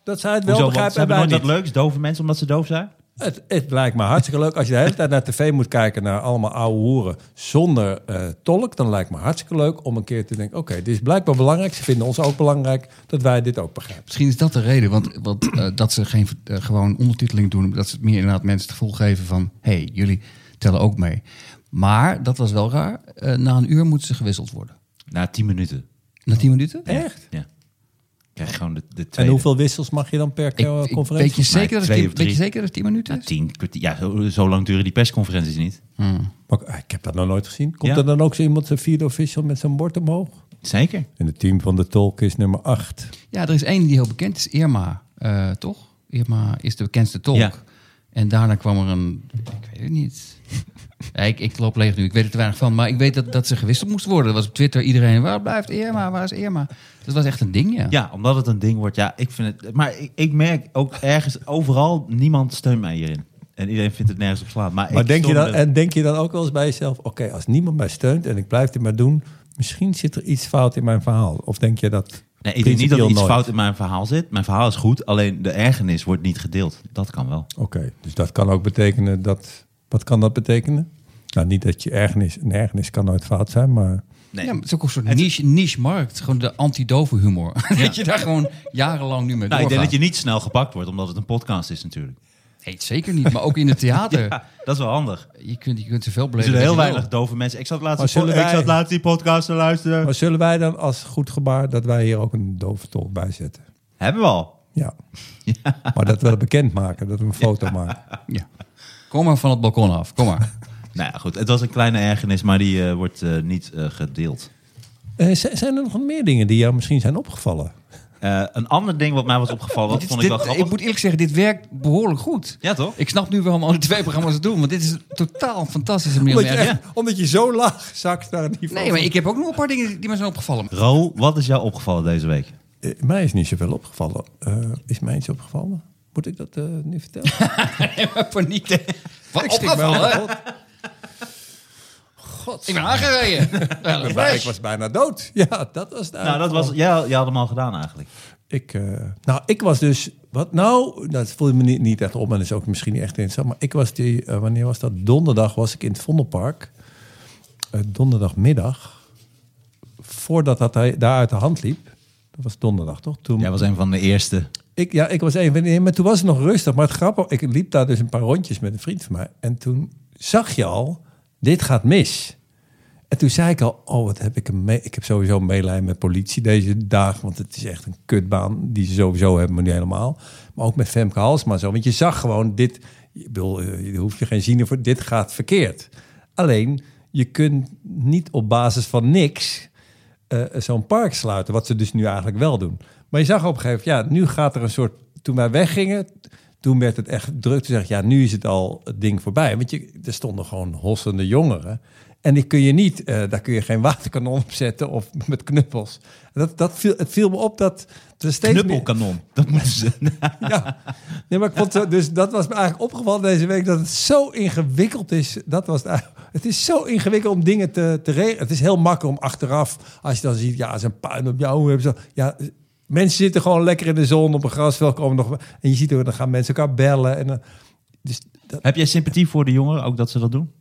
B: Dat zij het wel
A: Hoezo, want
B: begrijpen
A: ze hebben
B: en
A: nooit
B: wij
A: dat
B: niet.
A: leuks, dove mensen, omdat ze doof zijn?
B: Het, het lijkt me hartstikke leuk. Als je de hele tijd naar tv moet kijken naar allemaal oude hoeren zonder eh, tolk, dan lijkt me hartstikke leuk om een keer te denken: oké, dit is blijkbaar belangrijk. Ze vinden ons ook belangrijk dat wij dit ook begrijpen.
C: Misschien is dat de reden, want, want eh, dat ze geen eh, gewoon ondertiteling doen. Dat ze het meer inderdaad mensen het gevoel geven van... hé, hey, jullie tellen ook mee. Maar, dat was wel raar, eh, na een uur moeten ze gewisseld worden.
A: Na tien minuten.
C: Na tien minuten?
B: Echt?
A: Ja. Krijg je gewoon de, de tweede.
B: En hoeveel wissels mag je dan per
C: Ik,
B: eh,
C: ik-
B: conferentie?
C: weet, je
A: mij
C: zeker dat het
A: twee
C: tien,
A: of
C: weet je
A: drie. Nou,
C: zeker dat het tien minuten
A: Ja,
C: is?
A: tien kwartier. Ja, zo, zo lang duren die persconferenties niet.
B: Maar eh, ik heb dat nog nooit gezien. Komt
A: Ja.
B: er dan ook zo iemand, een vierde official, met zijn bord omhoog?
A: Zeker.
B: En het team van de tolk is nummer 8.
C: Ja, er is één die heel bekend is, Irma, eh, toch? Irma is de bekendste tolk.
A: Ja.
C: En daarna kwam er een... Ik weet het niet. Ja, ik, ik loop leeg nu, ik weet er te weinig van. Maar ik weet dat, dat ze gewisseld moest worden. Er was op Twitter iedereen, waar blijft Irma, waar is Irma? Dat was echt een ding, ja.
A: Ja, omdat het een ding wordt. Ja, ik vind het. Maar ik, ik merk ook ergens overal niemand steunt mij hierin. En iedereen vindt het nergens op slaan. Maar,
B: Maar
A: ik
B: denk je,
A: stoor me
B: dan,
A: er-
B: en denk je dan ook wel eens bij jezelf: oké, als niemand mij steunt en ik blijf dit maar doen, misschien zit er iets fout in mijn verhaal? Of denk je dat.
A: Nee, ik denk niet dat er
B: principieel
A: iets
B: nooit?
A: fout in mijn verhaal zit. Mijn verhaal is goed, alleen de ergernis wordt niet gedeeld. Dat kan wel.
B: Oké, dus dat kan ook betekenen dat. Wat kan dat betekenen? Nou, niet dat je ergernis. Een ergernis kan nooit fout zijn, maar.
A: Nee.
C: Ja, maar het is ook een soort niche, niche markt. Gewoon de anti-dove humor. *laughs* dat je daar gewoon jarenlang nu mee
A: nou, ik denk
C: doorgaat.
A: dat je niet snel gepakt wordt, omdat het een podcast is natuurlijk.
C: Nee, zeker niet. Maar ook in het theater.
A: *laughs* Ja, dat is wel handig.
C: je, kunt, je kunt zoveel
A: Er
C: beleven.
A: zullen
C: dat
A: heel
C: je wil.
A: weinig dove mensen... Ik zat
B: Maar
A: laatst,
B: zullen
A: ik
B: wij-
A: zat laatst die podcast te luisteren.
B: Maar zullen wij dan als goed gebaar dat wij hier ook een dove tolk bij zetten?
A: Hebben we al. *laughs*
B: Ja. Maar dat wel bekendmaken, dat we een foto maken.
C: Ja. Kom maar van het balkon af. Kom maar.
A: Nou ja, goed. Het was een kleine ergernis, maar die eh, wordt eh, niet eh, gedeeld.
B: Eh, z- zijn er nog meer dingen die jou misschien zijn opgevallen?
A: Eh, een ander ding wat mij was opgevallen, dat
C: Dit-
A: vond ik wel
C: dit-
A: grappig.
C: moet eerlijk zeggen, dit werkt behoorlijk goed.
A: Ja, toch?
C: Ik snap nu waarom alle twee programma's het doen. Want dit is een totaal fantastische manier. om
B: Omdat je,
C: ergens-
B: echt- omdat je zo laag zakt naar het niveau.
C: Nee, maar ik heb ook nog een paar dingen die me zijn opgevallen.
A: Ro, wat is jou opgevallen deze week?
B: Eh, mij is niet zoveel opgevallen. Eh, is mij iets opgevallen? Moet ik dat eh, nu vertellen?
C: *laughs* Paniek. Wat
B: Ik stik me
C: opgevallen?
B: over
C: hè?
B: de kop. God,
C: Ik ben aangereden. Ja,
B: *laughs* ik, ben- ik was bijna dood. Ja, dat was het
A: Nou, dat was, jij, jij had hem al gedaan eigenlijk.
B: Ik, eh, nou, ik was dus... Wat nou? Dat voelde me niet, niet echt op en is ook misschien niet echt interessant. Maar ik was die... eh, wanneer was dat? Donderdag was ik in het Vondelpark. Eh, donderdagmiddag. Voordat dat hij daar uit de hand liep. Dat was donderdag, toch? Toen,
A: Jij was een van de eerste.
B: ik, ja, ik was even... nee, Maar toen was het nog rustig. Maar het grappige... Ik liep daar dus een paar rondjes met een vriend van mij. En toen zag je al... Dit gaat mis. En toen zei ik al, oh, wat heb ik een mee... Ik heb sowieso een meelijn met politie deze dagen. Want het is echt een kutbaan die ze sowieso hebben, maar niet helemaal. Maar ook met Femke Halsma zo. Want je zag gewoon dit... Ik bedoel, eh, je hoeft je geen zin voor. Dit gaat verkeerd. Alleen, je kunt niet op basis van niks eh, zo'n park sluiten. Wat ze dus nu eigenlijk wel doen. Maar je zag op een gegeven moment, ja, nu gaat er een soort... Toen wij weggingen, toen werd het echt druk. Toen zeg ik, ja, nu is het al het ding voorbij. Want je, er stonden gewoon hossende jongeren. En die kun je niet, eh, daar kun je geen waterkanon op zetten of met knuppels. Dat, dat viel, het viel me op dat er steeds meer...
A: Knuppelkanon. Dat moeten ze. *laughs*
B: *laughs* Ja. Nee, maar ik vond, zo- dus dat was me eigenlijk opgevallen deze week, dat het zo ingewikkeld is. Dat was het, eigenlijk. het is zo ingewikkeld om dingen te, te regelen. Het is heel makkelijk om achteraf, als je dan ziet, ja, zijn puin op jou. hoe Hebben ze, ja, mensen zitten gewoon lekker in de zon op een grasveld. Komen nog, en je ziet ook, dan gaan mensen elkaar bellen. En dan, dus dat,
A: Heb jij sympathie voor de jongeren, ook dat ze dat doen?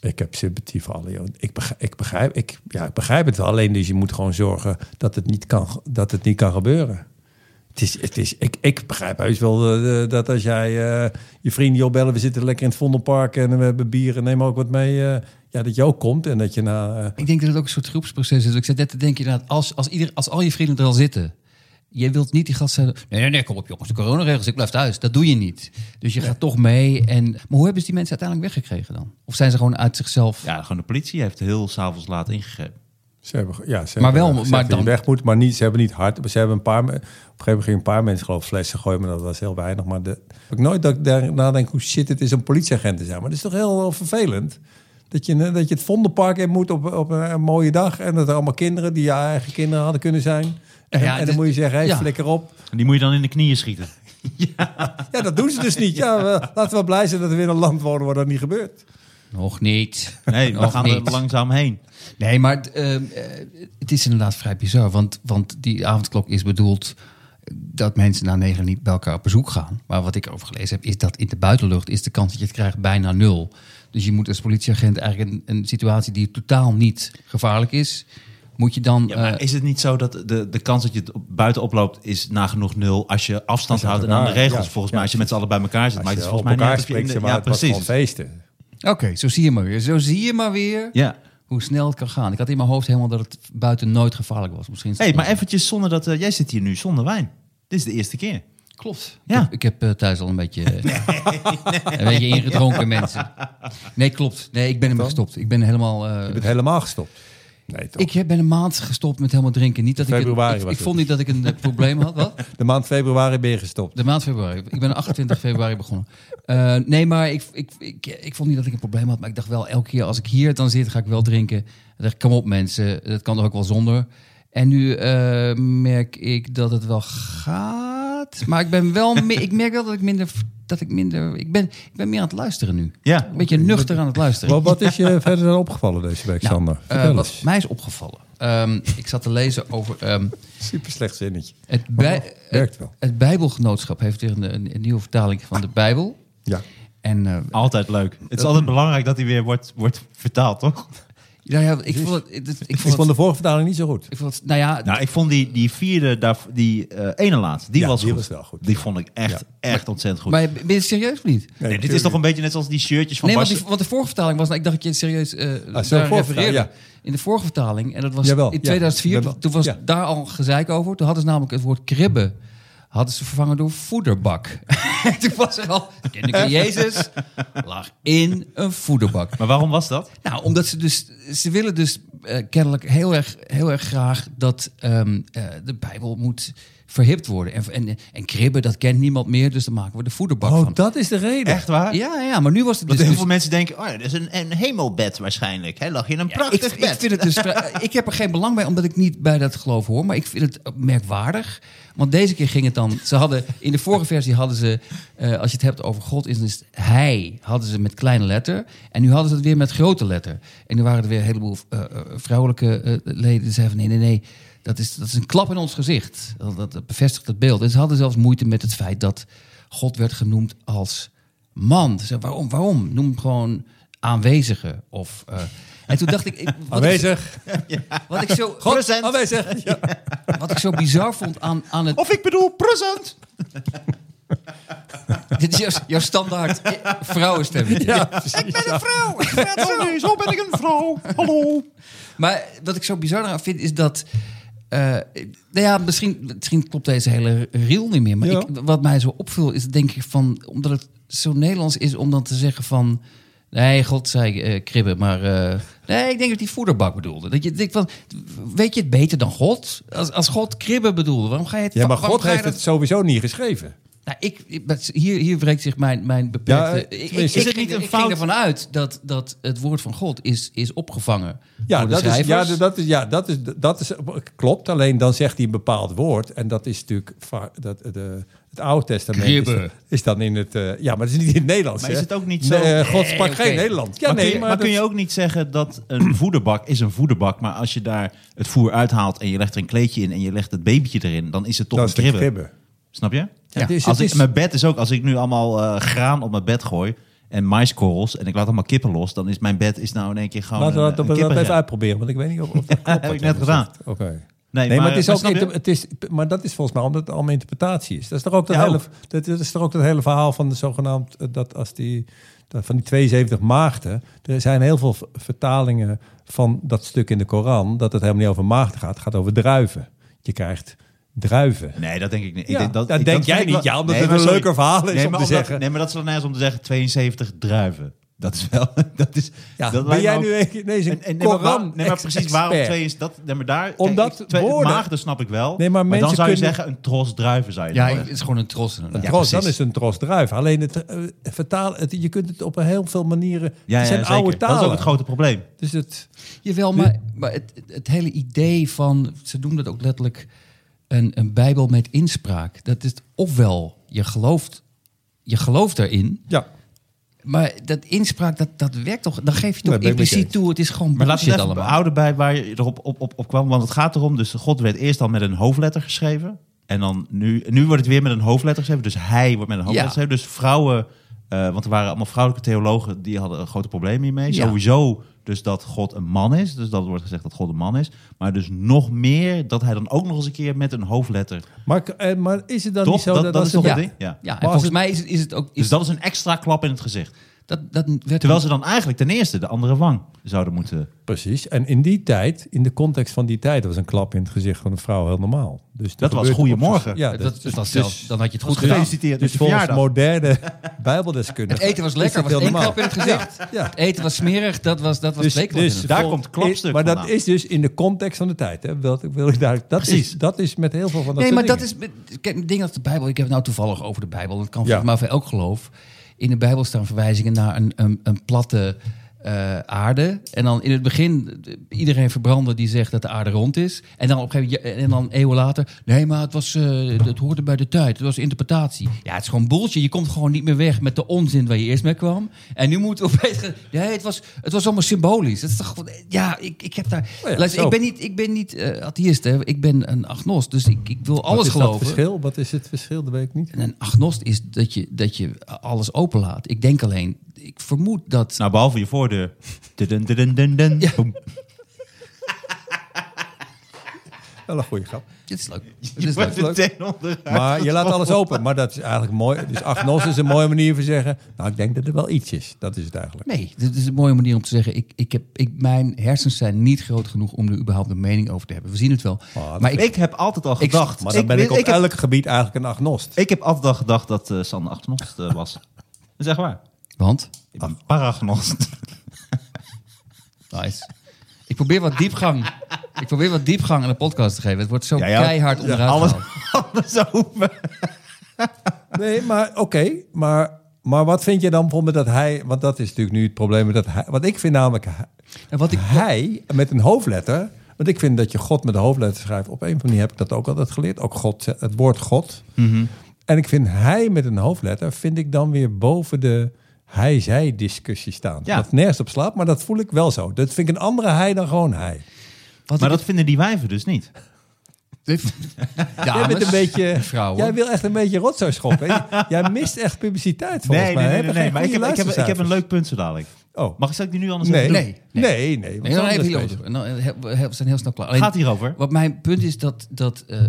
B: ik heb sympathie voor alle jongen. Ik begrijp, ik begrijp, ik, ja, ik begrijp het wel. Alleen dus je moet gewoon zorgen dat het niet kan, dat het niet kan gebeuren. Het is, het is, ik, ik begrijp heus wel eh, dat als jij eh, je vrienden joh bellen... we zitten lekker in het Vondelpark en we hebben bier en neem ook wat mee... eh, ja, dat je ook komt en dat je na... eh,
C: Ik denk dat het ook een soort groepsproces is. Ik zat net te denken, inderdaad, als, als, ieder, als al je vrienden er al zitten... Je wilt niet die gast zeggen, nee, nee, nee, kom op jongens, de coronaregels, ik blijf thuis. Dat doe je niet. Dus je gaat toch mee. En, maar hoe hebben ze die mensen uiteindelijk weggekregen dan? Of zijn ze gewoon uit zichzelf...
A: Ja, gewoon de politie heeft heel s'avonds laat ingegrepen.
B: ze hebben, ja, ze
C: Maar
B: hebben-
C: wel,
B: ze
C: maar
B: hebben die
C: dan-
B: weg moet, maar niet, ze hebben niet hard. Ze hebben een paar, me- op een gegeven moment gingen een paar mensen geloof ik, flessen gooien, maar dat was heel weinig. Maar de, ik nooit dat ik daar nadenk hoe shit het is om politieagent te zijn. Maar dat is toch heel, eh, vervelend. Dat je, eh, dat je het Vondelpark in moet op, op een, een mooie dag. En dat er allemaal kinderen die je eigen kinderen hadden kunnen zijn. En,
C: Ja,
B: en dan
C: dit-
B: moet je zeggen, hey,
C: ja.
B: flikker op.
A: En die moet je dan in de knieën schieten.
B: Ja, dat doen ze dus niet. Ja, we- laten we blij zijn dat we in een land wonen waar dat niet gebeurt.
C: Nog niet.
A: *laughs* Nee, we
C: *laughs* Nog
A: gaan
C: niet.
A: er langzaam heen.
C: Nee, maar eh, eh, het is inderdaad vrij bizar. Want, want die avondklok is bedoeld dat mensen na negen niet bij elkaar op bezoek gaan. Maar wat ik over gelezen heb, is dat in de buitenlucht is de kans dat je het krijgt bijna nul. Dus je moet als politieagent eigenlijk een, een situatie die totaal niet gevaarlijk is, moet je dan...
A: Ja, maar
C: eh,
A: is het niet zo dat de, de kans dat je het op- buiten oploopt is nagenoeg nul als je afstand houdt en aan de
B: elkaar-
A: regels?
B: ja,
A: volgens
B: ja.
A: mij, als je met z'n allen bij elkaar zit,
B: Als
A: maakt
B: je
A: het
B: op
A: volgens mij niet uit of je
B: elkaar
A: in
B: spreekt,
A: de-
B: ze maar,
A: Ja,
B: het was gewoon
A: precies.
B: feesten.
C: Oké, zo zie je maar weer. Zo zie je maar weer
A: Ja.
C: hoe snel het kan gaan. Ik had in mijn hoofd helemaal dat het buiten nooit gevaarlijk was. Misschien is het
A: Hey, maar
C: onzin.
A: eventjes zonder dat eh, jij zit hier nu zonder wijn. Dit is de eerste keer.
C: Klopt.
A: Ja.
C: Ik heb, ik heb eh, thuis al een beetje, eh, een beetje ingedronken, mensen. Nee, klopt. Nee, ik ben ermee gestopt. Ik ben helemaal... eh,
B: Je
A: Dus-
B: bent helemaal gestopt. Nee, toch?
C: ik heb- ben een maand gestopt met helemaal drinken. Niet dat
B: Februari
C: ik, een-
B: was
C: ik, ik
B: het. dus.
C: vond niet dat ik een eh, probleem had. Wat?
B: De maand februari ben je gestopt.
C: De maand februari. Ik ben 28 februari begonnen. Eh, nee, maar ik, ik, ik, ik vond niet dat ik een probleem had. Maar ik dacht wel, elke keer als ik hier dan zit, ga ik wel drinken. Ik dacht, kom op mensen, dat kan er ook wel zonder. En nu eh, merk ik dat het wel gaat. Maar ik ben wel, me- ik merk wel dat ik minder, dat ik minder, ik ben, ik ben meer aan het luisteren nu.
A: Ja.
C: Een beetje nuchter aan het luisteren.
B: Wat, wat is je *laughs* verder dan opgevallen deze week,
C: Nou,
B: Sander?
C: eh,
B: Vertel
C: wat
B: eens.
C: mij is opgevallen. Ehm, ik zat te lezen over ehm,
B: Super slecht zinnetje.
C: het, bij,
B: werkt wel.
C: het Bijbelgenootschap heeft weer een, een, een nieuwe vertaling van de Bijbel.
B: Ja.
C: En eh,
A: Altijd leuk. Het is altijd belangrijk dat hij weer wordt, wordt vertaald, toch?
C: Ja, nou ja ik vond het. het- Ik
B: Ik vond,
C: vond het.
B: de vorige vertaling niet zo goed.
C: Ik vond het nou ja,
A: Nou, ik vond die, die vierde, daar- die eh, ene laatste, die,
B: Ja,
A: was,
B: die
A: goed.
B: was wel goed.
A: Die vond ik echt, echt ontzettend goed.
C: maar ben je het serieus of niet?
A: nee, dit is toch een beetje net zoals die shirtjes van
C: nee, want,
A: Bas.
C: die, want de vorige vertaling was, nou, ik dacht dat je het serieus eh
B: vorige
C: daar
B: vertaling,
C: refereerde.
B: ja.
C: In de vorige vertaling, en dat was
B: Jawel,
C: in
B: ja.
C: 2004,
B: Ben wel-
C: toen was
B: ja.
C: daar al gezeik over. Toen hadden ze namelijk het woord kribbe, hadden ze vervangen door voederbak. *laughs* En toen was er al, kinderen Jezus lag in een voederbak.
A: Maar waarom was dat?
C: Nou, omdat ze dus, ze willen dus eh, kennelijk heel erg, heel erg graag dat ehm, eh, de Bijbel moet verhipt worden. En, en, en kribben, dat kent niemand meer, dus daar maken we de voederbak
B: Oh,
C: van.
B: dat is de reden.
A: Echt waar?
C: Ja, ja, maar nu was het
A: Dat
C: dus...
A: heel
C: dus-
A: veel mensen denken, oh, dat is een, een hemelbed waarschijnlijk. Hij lag in een
C: ik,
A: prachtig
C: ik
A: bed.
C: vind het dus, vrij- ik heb er geen belang bij, omdat ik niet bij dat geloof hoor. Maar ik vind het ook merkwaardig. Want deze keer ging het dan... Ze hadden, in de vorige versie hadden ze, eh, als je het hebt over God, is het hij. Hadden ze met kleine letter. En nu hadden ze het weer met grote letter. En nu waren er weer een heleboel eh, eh, vrouwelijke eh, leden. Die zeiden van nee, nee, nee. Dat is, dat is een klap in ons gezicht. Dat, dat- dat bevestigt het beeld. En ze hadden zelfs moeite met het feit dat God werd genoemd als man. Ze zeiden, waarom, waarom? Noem hem gewoon aanwezige. Of, eh, en toen dacht ik... ik- wat ik-
B: Aanwezig.
C: wat ik
B: *laughs*
C: zo,
A: Present.
C: *laughs*
B: Aanwezig. Ja.
C: wat ik zo bizar vond aan, aan het...
A: Of ik bedoel, present.
C: Dit is jouw, jouw standaard eh, vrouwenstemmetje.
B: precies.
A: Nee, zo ben ik een vrouw. Hallo.
C: Maar wat ik zo bizar aan vind, is dat... eh, nou ja, misschien, misschien klopt deze hele reel niet meer. Maar
B: Ja.
C: ik, wat mij zo opviel, is denk ik van... Omdat het zo Nederlands is om dan te zeggen van... Nee, God zei eh kribben, maar... eh, nee, ik denk dat hij voederbak bedoelde. Dat je denkt van, weet je het beter dan God? Als, als God kribben bedoelde, waarom ga je het...
B: Ja, maar
C: waarom
B: God
C: ga je
B: heeft
C: dat-
B: het sowieso niet geschreven.
C: Nou, ik, ik- dat- hier, hier breekt zich mijn, mijn beperkte...
B: Ja,
C: ik, ik,
B: tenminste.
C: ik
B: Is
A: het
C: ging-
A: niet een
C: ik
A: fout?
C: ging ervan uit dat, dat het woord van God is, is opgevangen
B: Ja,
C: door de
B: dat is,
C: schrijvers.
B: ja, dat is, ja dat, is, dat is klopt. Alleen dan zegt hij een bepaald woord. En dat is natuurlijk va- dat, de, het Oude Testament. Is,
C: Kribbe.
B: dat- is dan in het. eh, ja, maar het is niet in het Nederlands.
A: Maar is
B: hè?
A: het ook niet zo-
B: Nee, eh, God sprak
C: oké.
B: geen Nederlands. Ja,
A: maar
B: nee,
A: kun je,
B: maar,
A: maar kun
B: dat-
A: je ook niet zeggen dat een *clears throat* voederbak is een voederbak, maar als je daar het voer uithaalt en je legt er een kleedje in en je legt het babytje erin, dan is het toch
B: dat
A: een
B: is de
A: kribbe.
B: kribbe.
A: Snap je?
B: het is-
A: als
B: het
A: ik,
B: is-
A: Mijn bed is ook, als ik nu allemaal eh, graan op mijn bed gooi en maiskorrels en ik laat allemaal kippen los, dan is mijn bed is nou in één keer gewoon
B: Laten we
A: een,
B: dat,
A: een
B: dat
A: kippenren.
B: even uitproberen, want ik weet niet of,
A: *laughs*
B: of dat klopt.
A: heb
B: wat
A: ik
B: hij
A: net gedaan.
B: zegt. Oké.
A: Nee,
B: Nee, maar, het is ook
A: snap je?
B: inter- het is, maar dat is volgens mij omdat het allemaal interpretatie is. Dat is toch ook dat,
A: Ja,
B: hele,
A: ook.
B: Dat, dat is toch ook dat hele verhaal van de zogenaamd eh, dat als die dat van die 72 maagden, er zijn heel veel v- vertalingen van dat stuk in de Koran dat het helemaal niet over maagden gaat, het gaat over druiven. Je krijgt druiven.
A: Nee, dat denk ik niet. Ik
B: Ja,
A: denk dat,
B: dat
A: ik-
B: denk
A: dat
B: jij
A: vind ik
B: niet.
A: wel-
B: Ja, omdat
A: Nee,
B: het
A: maar
B: een
A: sorry.
B: leuker verhaal is
A: Nee,
B: om
A: maar
B: te
A: omdat-
B: zeggen.
A: Nee, maar dat is wel nergens om te zeggen 72 druiven. Dat is wel... *laughs* Dat is,
B: Ja,
A: dat
B: ben
A: lijkt
B: jij
A: me
B: nu
A: ook-
B: een- ineens een
A: En- en- nee, maar waar- Nee, maar
B: Koran-ex-
A: precies waarom
B: expert?
A: twee is dat... Nee, maar daar...
B: Omdat
A: kijk, ik- twee,
B: woorden-
A: Maagden snap ik wel.
B: Nee, maar
A: maar, dan
B: mensen
A: zou je
B: kunnen-
A: zeggen een tros druiven zou je
C: Ja,
A: dan
C: ik-
A: zeggen.
C: het is gewoon een tros. inderdaad.
B: Een
A: Ja,
B: tros, dan
A: precies.
B: is het een tros druif. Alleen het, eh, vertaal, het, je kunt het op heel veel manieren.
A: Ja,
B: het
A: ja,
B: zijn
A: zeker.
B: oude talen.
A: Dat is ook het grote probleem.
B: Dus het,
C: Jawel, maar, maar het, het hele idee van... Ze doen dat ook letterlijk... een, een Bijbel met inspraak. Dat is ofwel je gelooft, je gelooft erin,
B: Ja.
C: maar dat inspraak, dat, dat werkt toch? Dan geef je
B: Nee, ben
C: toch
B: ik met je
C: impliciet
B: eens.
C: toe, het is gewoon
A: Maar laten we
C: bullshit
A: het even
C: allemaal.
A: houden bij waar je erop op, op, op kwam. Want het gaat erom, dus God werd eerst al met een hoofdletter geschreven. En dan nu, nu wordt het weer met een hoofdletter geschreven. Dus hij wordt met een hoofdletter
C: Ja.
A: geschreven. Dus vrouwen, eh, want er waren allemaal vrouwelijke theologen... die hadden een grote probleem hiermee.
C: Ja.
A: Sowieso dus dat God een man is. Dus dat wordt gezegd dat God een man is. Maar dus nog meer dat hij dan ook nog eens een keer met een hoofdletter...
B: Maar, eh, maar is het dan
A: Toch?
B: niet zo
A: Dat-
B: dat,
A: dat
B: als
A: is toch
B: een-
A: het
C: Ja,
A: ding?
C: ja.
A: Ja.
C: en
A: Maar
C: volgens
B: het- Dus-
C: mij is, het- is het ook...
A: Dus
C: Is,
A: dat is een extra klap in het gezicht.
C: dat, dat werd
A: Terwijl ze dan eigenlijk ten eerste de andere wang zouden moeten...
B: Precies. En in die tijd, in de context van die tijd, was een klap in het gezicht van een vrouw heel normaal. Dus er
A: Dat was
B: gebeurt op-
A: goedemorgen.
B: Ja,
C: dat,
B: dat,
C: dat, was zelfs- dan had je het goed gedaan.
A: Gefeliciteerd met
B: dus
A: je
B: volgens
A: verjaardag.
B: moderne *laughs* bijbeldeskundigen.
C: Het eten was lekker, was
B: was
C: één klap in het gezicht.
B: Ja.
C: Het eten was smerig, dat was, dat was
B: Dus-
C: twee klappen
B: dus-
C: in het
A: Daar
B: Vol-
A: komt klapstuk
B: Maar dat
A: vandaan.
B: is dus in de context van de tijd. Hè? Wil, wil ik daar, dat,
A: Precies.
B: is, dat is met heel veel van dat
C: Nee,
B: soort
C: maar dat
B: dingen.
C: is. Kijk, dingen als de Bijbel. Ik heb het nou toevallig over de Bijbel. Dat kan
B: Ja.
C: volgens mij voor elk geloof. In de Bijbel staan verwijzingen naar een, een, een platte eh, aarde. En dan in het begin eh, iedereen verbranden die zegt dat de aarde rond is. En dan op een gegeven moment, en dan eeuwen later. Nee, maar het, was, eh, het hoorde bij de tijd. Het was interpretatie. Ja, het is gewoon bullshit. Je komt gewoon niet meer weg met de onzin waar je eerst mee kwam. En nu moeten we opeens. gaan- Nee, het was, het was allemaal symbolisch. Het is toch, ja, ik, ik heb daar.
B: Oh ja,
C: Luister,
B: zo.
C: ik ben niet, ik ben niet eh, atheïst. Hè. Ik ben een agnost. Dus ik, ik wil
B: Wat
C: alles
B: is dat
C: geloven.
B: verschil? Wat is het verschil? Dat weet ik niet.
C: En een agnost is dat je, dat je alles openlaat. Ik denk alleen, ik vermoed dat.
A: Nou, behalve je *laughs* voordeur. Dun, dun, dun, dun, dun.
C: Ja.
A: Boem.
B: Wel een goede grap.
C: Dit is leuk. Dit
A: Je
C: is
A: wordt
C: leuk.
A: meteen onderuit.
B: Maar je laat alles open. Maar dat is eigenlijk mooi. Dus agnos is een mooie manier van zeggen. Nou, ik denk dat er wel iets is. Dat is het eigenlijk.
C: Nee, dit is een mooie manier om te zeggen. Ik, ik heb, ik, mijn hersens zijn niet groot genoeg om er überhaupt een mening over te hebben. We zien het wel.
B: Oh,
C: maar
A: Ik,
C: ik,
A: heb altijd al
C: Ik-
A: gedacht.
B: Maar dan ben
A: weet-
B: ik op
A: heb,
B: elk gebied eigenlijk een agnost.
A: ik heb altijd al gedacht dat eh San Agnost eh, was. Dat is echt waar.
C: want.
A: Ik ben paragnost.
C: Nice. Ik probeer wat diepgang. Ik probeer wat diepgang aan de podcast te geven. Het wordt zo
A: Ja, ja.
C: keihard onderuit
A: alles
C: gehaald.
A: anders open.
B: Nee, maar oké. maar, maar wat vind je dan bijvoorbeeld dat hij... Want dat is natuurlijk nu het probleem. Dat hij, want ik vind namelijk hij- *laughs*
C: En wat ik,
B: hij met een hoofdletter... Want ik vind dat je God met een hoofdletter schrijft. Op een of andere manier heb ik dat ook altijd geleerd. Ook God, het woord God. En ik vind hij met een hoofdletter... vind ik dan weer boven de hij-zij-discussie staan.
A: Ja.
B: Dat nergens op slaat, maar dat voel ik wel zo. Dat vind ik een andere hij dan gewoon hij.
C: wat
A: Maar
C: ik-
A: dat vinden die wijven dus niet.
C: Dames,
B: Jij bent een beetje.
C: vrouwen.
B: Jij wil echt een beetje rotzooi *laughs* schoppen. hè? jij mist echt publiciteit volgens mij. hè? We hebben
A: Maar ik heb,
B: geen
A: ik, heb, ik heb een
B: goede
A: leuk punt zo dadelijk.
B: Oh.
A: Mag ik zal ik die nu anders
B: luistercijfers.
A: even doen?
C: Nee,
B: Nee, nee, nee.
C: Nee,
B: nee,
C: dan
B: want
C: even
B: anders
C: hierover.
B: bezig.
C: En dan he- we zijn heel snel klaar. Alleen,
A: Gaat hierover?
C: Wat mijn punt is dat... dat eh,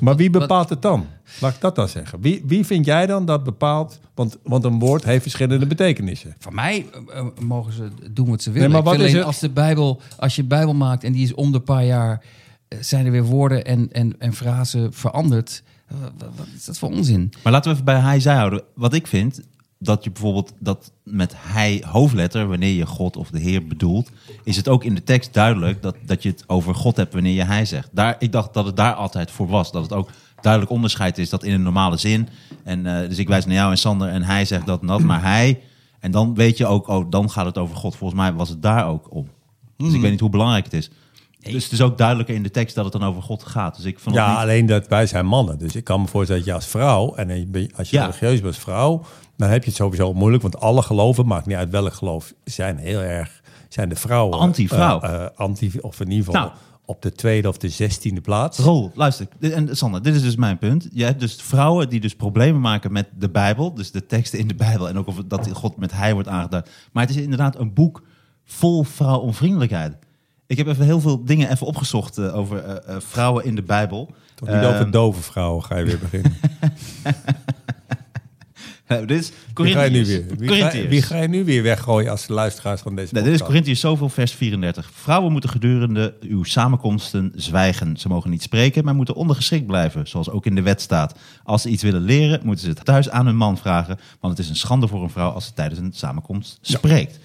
B: Maar wie bepaalt het dan? Laat ik dat dan zeggen. Wie, wie vind jij dan dat bepaalt? Want, want een woord heeft verschillende betekenissen.
C: van mij eh, eh, mogen ze doen wat ze willen.
B: Nee, maar
C: Ik
B: wat is
C: vind alleen
B: het?
C: Als, de Bijbel, als je een Bijbel maakt en die is om de paar jaar... eh, zijn er weer woorden en, en, en frasen veranderd. Eh, wa- wa- Wat is dat voor onzin?
A: Maar laten we even bij hij zij houden. Wat ik vind, dat je bijvoorbeeld dat met hij hoofdletter, wanneer je God of de Heer bedoelt, is het ook in de tekst duidelijk dat, dat je het over God hebt wanneer je hij zegt. Daar, ik dacht dat het daar altijd voor was. Dat het ook duidelijk onderscheid is dat in een normale zin. En, eh, dus ik wijs naar jou en Sander en hij zegt dat en dat, maar hij. En dan weet je ook, oh, dan gaat het over God. Volgens mij was het daar ook om. Dus ik weet niet hoe belangrijk het is. Dus het is ook duidelijker in de tekst dat het dan over God gaat. Dus ik vond het
B: Ja,
A: niet-
B: alleen dat wij zijn mannen. Dus ik kan me voorstellen dat je als vrouw, en je bent- als je
A: Ja.
B: religieus bent als vrouw, dan heb je het sowieso moeilijk. Want alle geloven, maakt niet uit welk geloof, zijn heel erg, zijn de vrouwen.
A: Anti-vrouw.
B: eh, eh, anti, of in ieder geval
A: Nou.
B: op de tweede of de zestiende plaats.
A: Rol, luister. Dit- En Sander, dit is dus mijn punt. Je hebt dus vrouwen die dus problemen maken met de Bijbel. Dus de teksten in de Bijbel. En ook of het- dat God met hij wordt aangeduid. Maar het is inderdaad een boek vol vrouwonvriendelijkheid. Ik heb even heel veel dingen even opgezocht eh, over eh, eh, vrouwen in de Bijbel.
B: Toch niet
A: Ehm.
B: over dove vrouwen ga je weer
A: *laughs*
B: beginnen.
A: Eh, dit is
B: Wie ga je nu
A: Corinthians.
B: weer, wie ga,
A: Corinthians.
B: wie ga je nu weer weggooien als de luisteraars van deze
A: Nee, dit is
B: podcast?
A: Corinthians zoveel, vers 34. Vrouwen moeten gedurende uw samenkomsten zwijgen. Ze mogen niet spreken, maar moeten ondergeschikt blijven, zoals ook in de wet staat. Als ze iets willen leren, moeten ze het thuis aan hun man vragen, want het is een schande voor een vrouw als ze tijdens een samenkomst spreekt.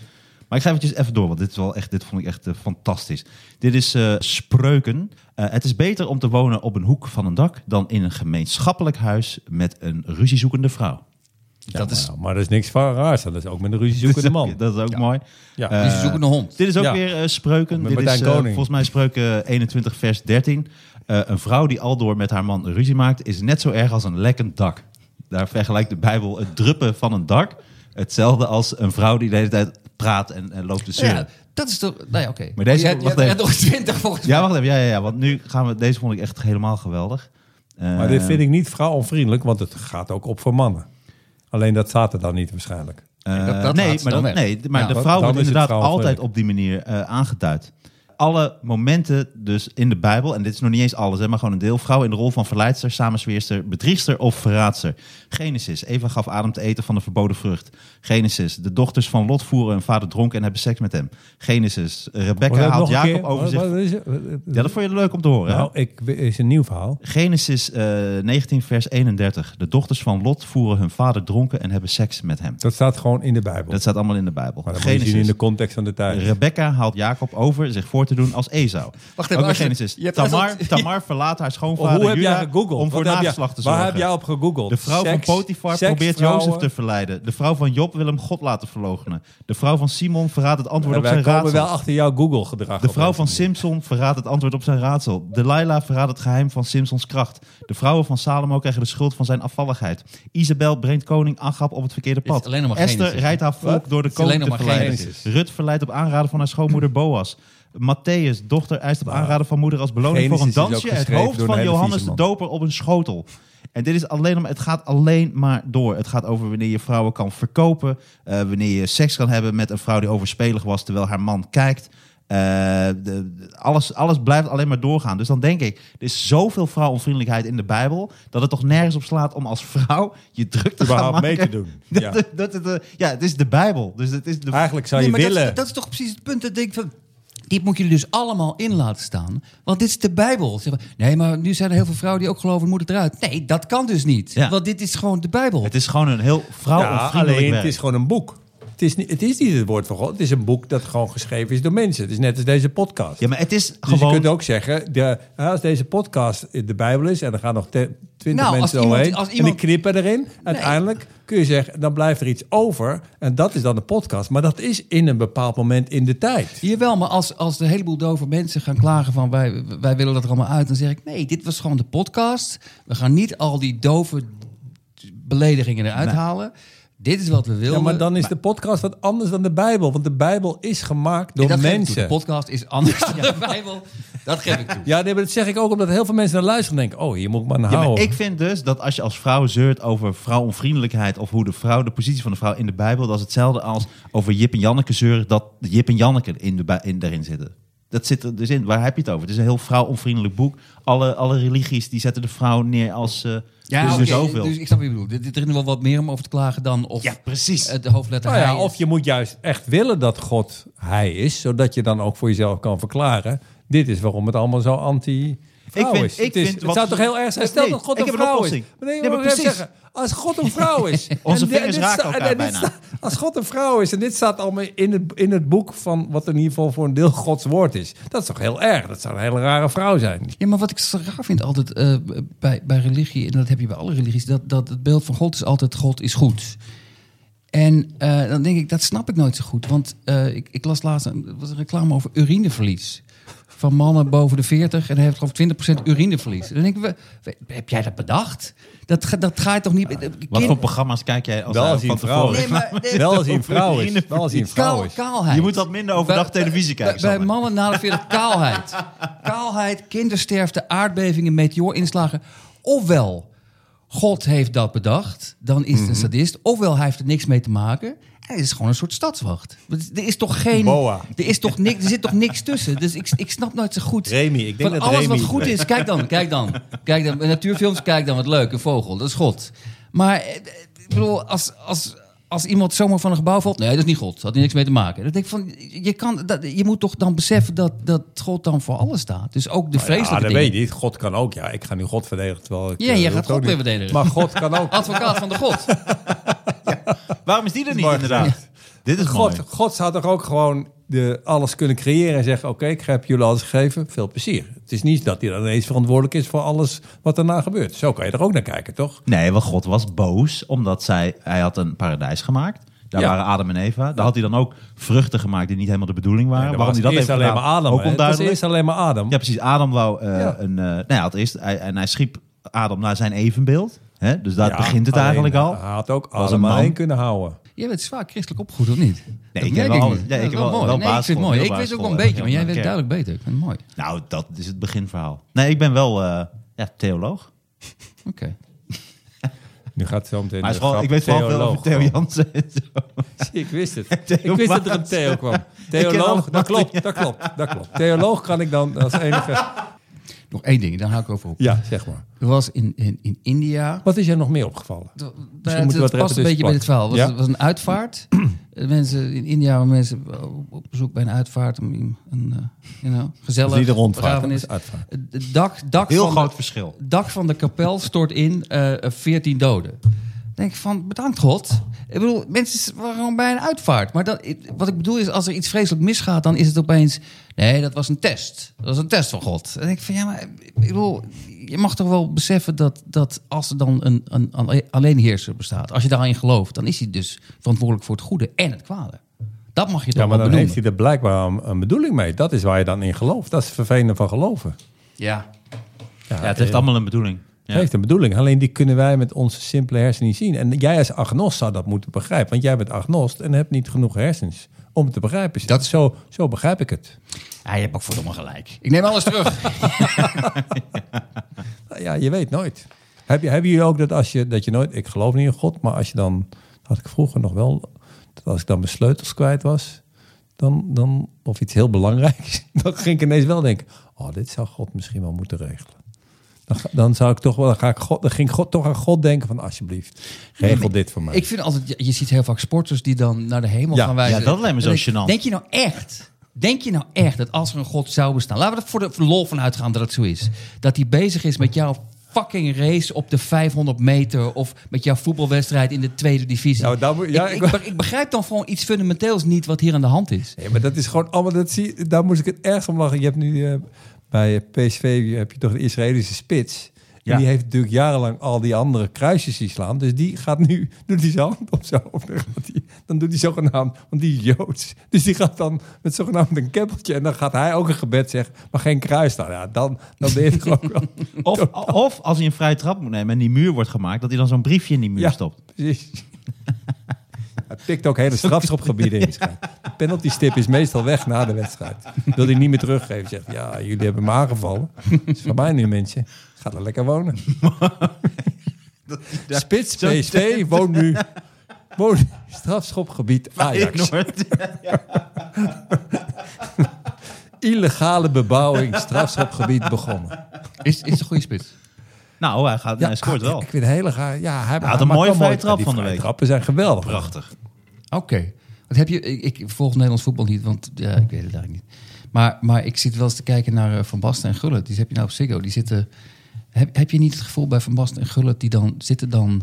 A: Maar ik ga eventjes even door, want dit, is wel echt, dit vond ik echt eh, fantastisch. Dit is eh, Spreuken. Eh, het is beter om te wonen op een hoek van een dak dan in een gemeenschappelijk huis met een ruziezoekende vrouw.
C: dat is,
B: Nou, maar dat is niks van raars. Dat is ook met een
A: *laughs*
B: ruziezoekende man.
A: Dat is ook mooi.
B: Ja.
A: Eh,
C: die Dus zoeken een hond.
A: Dit is ook
B: Ja.
A: weer eh, spreuken.
B: Met
A: Dit is
B: Martijn
A: eh,
B: Koning.
A: volgens mij spreuken 21 vers 13. Eh, een vrouw die aldoor met haar man ruzie maakt... is net zo erg als een lekkend dak. Daar vergelijkt de Bijbel het druppen van een dak... hetzelfde als een vrouw die de hele tijd praat en, en loopt te zeuren.
C: Ja, dat is toch... Nou ja, oké.
A: Maar deze-
C: Je hebt- je
A: wacht
C: hebt- je *laughs*
A: even.
C: hebt nog twintig volgens mij.
A: Ja, wacht even. Ja, ja, ja, want nu gaan we... Deze vond ik echt helemaal geweldig. Eh,
B: Maar dit vind ik niet vrouwonvriendelijk, want het gaat ook op voor mannen. Alleen dat staat er dan niet waarschijnlijk.
A: eh,
C: dat- dat
A: nee,
C: laat ze
A: maar,
C: dan
A: dat-
C: weg.
A: nee, maar
C: Ja.
A: de
B: Dan-
A: vrouw
B: dan
A: wordt
B: is het
A: inderdaad
B: vrouw
A: altijd
B: vredelijk.
A: op die manier eh, aangeduid. Alle momenten dus in de Bijbel, en dit is nog niet eens alles, hè, maar gewoon een deel. Vrouw in de rol van verleidster, samensweerster, bedriegster of verraadster. Genesis, Eva gaf Adam te eten van de verboden vrucht. Genesis, de dochters van Lot voeren hun vader dronken en hebben seks met hem. Genesis,
B: Wordt
A: Rebecca
B: dat
A: haalt
B: nog een
A: Jacob
B: keer?
A: over zich.
B: Wat- wat is het? Eh,
A: Ja, dat vond je leuk om te horen. hè?
B: Nou, ik, is een nieuw verhaal.
A: Genesis eh, 19, vers 31. De dochters van Lot voeren hun vader dronken en hebben seks met hem.
B: Dat staat gewoon in de Bijbel.
A: Dat staat allemaal in de Bijbel.
B: maar dat moet je zien in de context van de tijd.
A: Rebecca haalt Jacob over zich voor te doen als Ezou.
C: Wacht
A: Ook
C: even,
A: in
C: als je-
A: Genesis.
C: je hebt
A: Tamar,
C: *laughs* net al-
A: Tamar verlaat haar
B: Of
A: schoonvader
B: hoe heb
A: Juda
B: jij gegoogeld?
A: om voor
B: Wat heb jij-
A: nageslag te zorgen.
B: Waar heb jij op gegoogeld?
A: De vrouw
B: Seks,
A: van Potifar
B: seks,
A: probeert
B: vrouwen.
A: Jozef te verleiden. De vrouw van Job wil hem God laten verloochenen. De vrouw van Simon verraadt het antwoord
B: En
A: op
B: wij
A: zijn
B: komen
A: raadsel.
B: wel achter jouw Google-gedrag.
A: De vrouw
B: op
A: van
B: deze
A: Simpson verraadt het antwoord op zijn raadsel. Delilah verraadt het geheim van Simpsons kracht. De vrouwen van Salomo krijgen de schuld van zijn afvalligheid. Isabel brengt koning Agab op het verkeerde
C: is
A: pad.
C: alleen nog maar
A: Esther
C: Genesis.
A: rijdt haar volk
C: Wat?
A: door de
C: Het is alleen
A: koning
C: nog
A: te
C: maar
A: verleiden.
C: Genesis.
A: Rut verleidt op aanraden van haar schoonmoeder Boas. Matthäus, dochter, eist op aanraden van moeder als beloning
B: Genesis
A: voor een
B: is
A: dansje
B: ook
A: het
B: geschreven
A: hoofd
B: door een
A: van
B: hele
A: Johannes
B: vieze
A: de
B: man.
A: Doper op een schotel. En dit is alleen om, het gaat alleen maar door. Het gaat over wanneer je vrouwen kan verkopen, eh, wanneer je seks kan hebben met een vrouw die overspelig was terwijl haar man kijkt. Eh, de- de- alles, alles blijft alleen maar doorgaan. Dus dan denk ik, er is zoveel vrouwonvriendelijkheid in de Bijbel dat het toch nergens op slaat om als vrouw je druk te gaan
B: Überhaupt
A: maken.
B: mee te doen.
A: *laughs* Dat,
B: Ja.
A: dat, dat- dat- ja, het is de Bijbel. Dus het is de,
B: Eigenlijk zou je
C: Nee, maar dat,
B: willen.
C: is- dat is toch precies het punt dat ik denk van... Dit moet jullie dus allemaal in laten staan. Want dit is de Bijbel. Zeg maar, nee, maar nu zijn er heel veel vrouwen die ook geloven, moet het eruit. Nee, dat kan dus niet.
A: Ja.
C: Want dit is gewoon de Bijbel.
A: het is gewoon een heel
B: ja,
A: vrouwonvriendelijk
B: alleen het
A: werk.
B: is gewoon een boek. Het is, niet, het is niet het woord van God. Het is een boek dat gewoon geschreven is door mensen. Het is net als deze podcast.
A: Ja, maar het is
B: dus je
A: gewoon...
B: kunt ook zeggen, de, als deze podcast in de Bijbel is... en er gaan nog twintig
C: Nou, als
B: mensen
C: iemand-
B: omheen
C: als
B: en die
C: iemand-
B: knippen erin... uiteindelijk kun je zeggen, dan blijft er iets over... en dat is dan de podcast. Maar dat is in een bepaald moment in de tijd.
C: Jawel, maar als, als de heleboel dove mensen gaan klagen van wij, wij willen dat er allemaal uit, dan zeg ik nee, dit was gewoon de podcast. We gaan niet al die dove beledigingen eruit halen. Dit is wat we willen.
B: Ja, maar dan is de podcast wat anders dan de Bijbel. Want de Bijbel is gemaakt door mensen.
C: De podcast is anders dan de Bijbel. Dat
A: *laughs*
C: geef ik toe.
B: Ja, nee, maar dat zeg ik ook omdat heel veel mensen naar luisteren en denken... oh, hier moet ik maar naar
A: Ja, maar
B: houden.
A: ik vind dus dat als je als vrouw zeurt over vrouwonvriendelijkheid of hoe de vrouw, de positie van de vrouw in de Bijbel, dat is hetzelfde als over Jip en Janneke zeuren dat Jip en Janneke in de, Bij- in, daarin zitten. Dat zit er dus in. Waar heb je het over? Het is een heel vrouwonvriendelijk boek. Alle, alle religies die zetten de vrouw neer als eh
C: Ja,
A: dus
C: oké,
A: er zoveel.
C: dus ik snap wat je bedoelt. Er- Er is nog wel wat meer om over te klagen dan of
A: Ja, precies.
C: het- de hoofdletter
B: Nou ja,
C: hij is.
B: of je moet juist echt willen dat God hij is, zodat je dan ook voor jezelf kan verklaren. Dit is waarom het allemaal zo anti
A: Ik vind-
B: is.
A: ik
B: het, is-
A: vind
B: het
A: wat-
B: zou toch heel erg zijn, stel
A: Nee,
B: dat God
A: ik
B: een
A: heb een
B: vrouw is.
A: oplossing.
B: Maar nee,
A: Nee, maar
B: maar even
A: precies.
B: zeggen, als God een
A: *laughs*
B: vrouw is... en
A: Onze
B: di- en
A: vingers
B: dit
A: raken
B: sta- en
A: elkaar
B: dit
A: bijna.
B: sta- als God een vrouw is en dit staat allemaal in het, in het boek van wat in ieder geval voor een deel Gods woord is. Dat is toch heel erg? Dat zou een hele rare vrouw zijn.
C: Ja, maar wat ik zo raar vind altijd eh, bij, bij religie, en dat heb je bij alle religies, dat, dat het beeld van God is altijd God is goed. En eh, dan denk ik, dat snap ik nooit zo goed. Want eh, ik, ik las laatst een, er was een reclame over urineverlies. Van mannen boven de 40 en hij heeft geloof ik 20% urineverlies. Dan denk ik, we- we- heb jij dat bedacht? Dat, ga- dat ga je toch niet...
A: Wat
C: kind-
A: voor programma's kijk jij als,
B: Wel
A: eh,
B: als je
A: van
B: een vrouw
A: tevoren?
C: Nee, maar- nee,
A: *laughs*
B: Wel als hij een vrouw is. Wel als hij een vrouw
C: kaal,
B: is.
C: kaalheid.
A: Je moet wat minder overdag
C: Bij-
A: televisie
C: bij-
A: kijken.
C: Bij,
A: Sander.
C: mannen
A: *laughs*
C: na de 40 kaalheid. Kaalheid, kindersterfte, aardbevingen, meteoorinslagen. Ofwel, God heeft dat bedacht, dan is het
B: Mhm.
C: een sadist. Ofwel, hij heeft er niks mee te maken. Hij is gewoon een soort stadswacht. Want Er is toch geen.
B: Boa.
C: Er, is toch niks, er zit toch niks tussen. Dus ik, ik snap nooit zo goed.
B: Remy, ik denk
C: Van
B: dat
C: alles
B: Remy
C: wat goed
B: het
C: is, kijk dan, kijk dan. Kijk dan. Bij natuurfilms, kijk dan wat leuk. Een vogel, dat is God. Maar eh, ik bedoel, als, als, als iemand zomaar van een gebouw valt, nee, dat is niet God. Dat had hij niks mee te maken. Dat denk ik van, je, kan, dat, je moet toch dan beseffen dat, dat God dan voor alles staat. Dus
A: Nou
C: ook de
B: Ja,
C: vreselijke
B: Ah, dat
C: dingen.
B: weet je niet. God kan ook. Ja, ik ga nu God verdedigen terwijl ik...
C: Ja,
B: eh,
C: jij
B: dat
C: gaat
B: ook
C: God
B: niet.
C: weer verdedigen.
B: Maar God kan
C: *laughs*
B: ook.
C: Advocaat van de God.
A: Waarom is die er niet
B: Mooi
A: inderdaad? Dit is mooi.
B: God, God zou toch ook gewoon de, alles kunnen creëren en zeggen... oké, ik heb jullie alles gegeven, veel plezier. Het is niet dat hij dan ineens verantwoordelijk is voor alles wat daarna gebeurt. Zo kan je er ook naar kijken, toch?
A: Nee, want God was boos omdat zij, hij had een paradijs gemaakt. Daar
B: Ja.
A: waren Adam en Eva. Daar had hij dan ook vruchten gemaakt die niet helemaal de bedoeling waren.
B: Er
A: Waarom
B: was
A: hij dat
B: eerst
A: heeft
B: alleen
A: gedaan,
B: maar Adam.
A: ook
B: hè? Het was
A: onduidelijk.
B: eerst alleen maar Adam.
A: Ja, precies. Adam wou eh,
B: Ja.
A: een... eh nou ja, het eerst, hij, en hij schiep Adam naar zijn evenbeeld. Hè? Dus daar
B: Ja,
A: begint het
B: alleen, eh,
A: eigenlijk al.
B: Hij had ook
A: Was een
B: Adam maar
A: man.
B: één kunnen houden.
C: Jij bent zwaar christelijk opgevoed, of niet? Dat
A: ik
C: merk
A: heb wel alles.
C: nu.
A: Ja, ik
C: Dat is
A: heb wel-
C: mooi.
A: wel
C: Nee, ik vind
A: basisschool,
C: het mooi.
A: heel
C: Ik weet ook wel een
A: basisschool,
C: beetje, maar jij
A: ja,
C: weet
A: kerk.
C: duidelijk beter. Ik vind het mooi.
A: Nou, dat is het beginverhaal. Nee, ik ben wel eh, ja, theoloog.
C: Oké.
B: Nu gaat het zo meteen
A: Maar het
B: de
A: is vooral-
B: grap
A: ik weet vooral veel
B: theoloog
A: over Theo
B: komen.
A: Jansen en zo.
B: Ik wist het.
A: Theo
B: *laughs* ik wist dat er een
A: Maas.
B: *laughs* Theo kwam.
A: allemaal
B: Theoloog, dat
A: dingen.
B: klopt, dat klopt, dat klopt. Theoloog kan ik dan als *laughs* enige...
C: Nog één ding, daar hou ik over op.
B: Ja, zeg maar.
C: Er was in, in, in India...
B: Wat is jij nog meer opgevallen?
C: Dat,
B: moeten
C: dat
B: we wat
C: past
B: reppen
C: een beetje bij
B: tussen
C: dit verhaal. Het was,
B: plakken.
C: het was een
B: *clears throat*
C: uitvaart. Eh, mensen in India waren mensen op- op bezoek bij een uitvaart. Om een, een eh, you know, gezellig
B: Dat is niet de rondvaart, hè?
C: begrafenis.
B: Dat is uitvaart.
C: Het dak, dak
A: Heel
C: van
A: groot
C: de,
A: verschil.
C: dak van de kapel stort in eh, 14 doden. Dan denk ik van, bedankt God. Ik bedoel, mensen waren gewoon bij een uitvaart. Maar dat, ik- wat ik bedoel is, als er iets vreselijk misgaat... dan is het opeens, nee, dat was een test. Dat was een test van God. En dan denk ik van, ja, maar ik bedoel... je mag toch wel beseffen dat, dat als er dan een, een alle- alleenheerser bestaat... als je daarin gelooft, dan is hij dus verantwoordelijk voor het goede en het kwade. Dat mag je toch
B: Ja, maar dan
C: wel benoemen.
B: heeft hij er blijkbaar een, een bedoeling mee. Dat is waar je dan in gelooft. Dat is het vervelende van geloven.
C: Ja,
A: Ja, het heeft allemaal een bedoeling. Ja.
B: Het heeft een bedoeling. Alleen die kunnen wij met onze simpele hersenen niet zien. En jij als agnost zou dat moeten begrijpen. Want jij bent agnost en hebt niet genoeg hersens om het te begrijpen. Dat... Zo, zo begrijp ik het.
C: ja je hebt ook verdomme gelijk. Ik neem alles terug.
B: Nou Ja, je weet nooit. Heb je, hebben jullie ook dat als je, dat je nooit... Ik geloof niet in God, maar als je dan... Had ik vroeger nog wel... Dat als ik dan mijn sleutels kwijt was... Dan, dan, of iets heel belangrijks... *laughs* Dan ging ik ineens wel denken... Oh, dit zou God misschien wel moeten regelen. Dan, ga- dan zou ik toch wel... Dan, ga ik God, dan ging God toch aan God denken van... Alsjeblieft, regel dit voor mij.
C: Ik vind altijd, je- je ziet heel vaak sporters die dan naar de hemel
B: Ja,
C: gaan wijzen.
A: ja, dat lijkt me zo
C: En denk-
A: gênant.
C: Denk je nou echt, denk je nou echt dat als er een God zou bestaan, laten we er voor de lol van uitgaan dat het zo is, dat hij bezig is met jouw fucking race op de 500 meter of met jouw voetbalwedstrijd in de tweede divisie.
B: Nou, daar moet- ja,
C: ik,
B: ik
C: ik,
B: wou-
C: be- ik begrijp dan gewoon iets fundamenteels niet wat hier aan de hand is.
B: Nee, maar dat is gewoon allemaal. Dat zie, daar moest ik het erg om lachen. Je hebt nu eh, bij PSV heb je toch de Israëlische spits.
A: Ja.
B: En die heeft natuurlijk jarenlang al die andere kruisjes zien slaan. Dus die gaat nu, doet hij zijn hand op zo. Of dan, gaat hij- dan doet hij zogenaamd, want die is Joods. Dus die gaat dan met zogenaamd een keppeltje. En dan gaat hij ook een gebed zeggen, maar geen kruis daar. Ja, dan, dan ben je het ook wel.
A: Of, of als hij een vrije trap moet nemen en die muur wordt gemaakt, dat hij dan zo'n briefje in die muur
B: *laughs* Ja,
A: stopt.
B: precies. Het pikt ook
A: *laughs*
B: hele strafschopgebieden in. schijnt. De penaltystip is meestal weg na de wedstrijd. Wil hij niet meer teruggeven. Zegt, ja, jullie hebben me aangevallen. Dat is van mij nu, mensen. Ga er lekker
A: *laughs*
B: wonen. Spits,
A: Zo
B: PSV, woon nu. Woon strafschopgebied
A: *laughs*
B: Ajax.
A: Noord.
B: *laughs* Illegale bebouwing,
A: *laughs*
B: strafschopgebied begonnen.
C: Is, is een goede spits.
A: nou, hij, gaat, hij scoort
B: ah,
A: wel.
B: Ik vind het hele gaar. Ja, hij
A: had
B: maakt
A: een
B: wel
A: mooie
B: mooi-
A: vrije trap
B: die
A: van de
B: vrije
A: week.
B: trappen zijn geweldig.
A: Prachtig.
C: Oké. Wat heb je? Ik, ik volg Nederlands voetbal niet, want ja, ik weet het eigenlijk niet. Maar, maar ik zit wel eens te kijken naar eh, Van Basten en Gullit. Die heb je nou op Ziggo. Die zitten. Heb, heb je niet het gevoel bij Van Basten en Gullit die dan zitten dan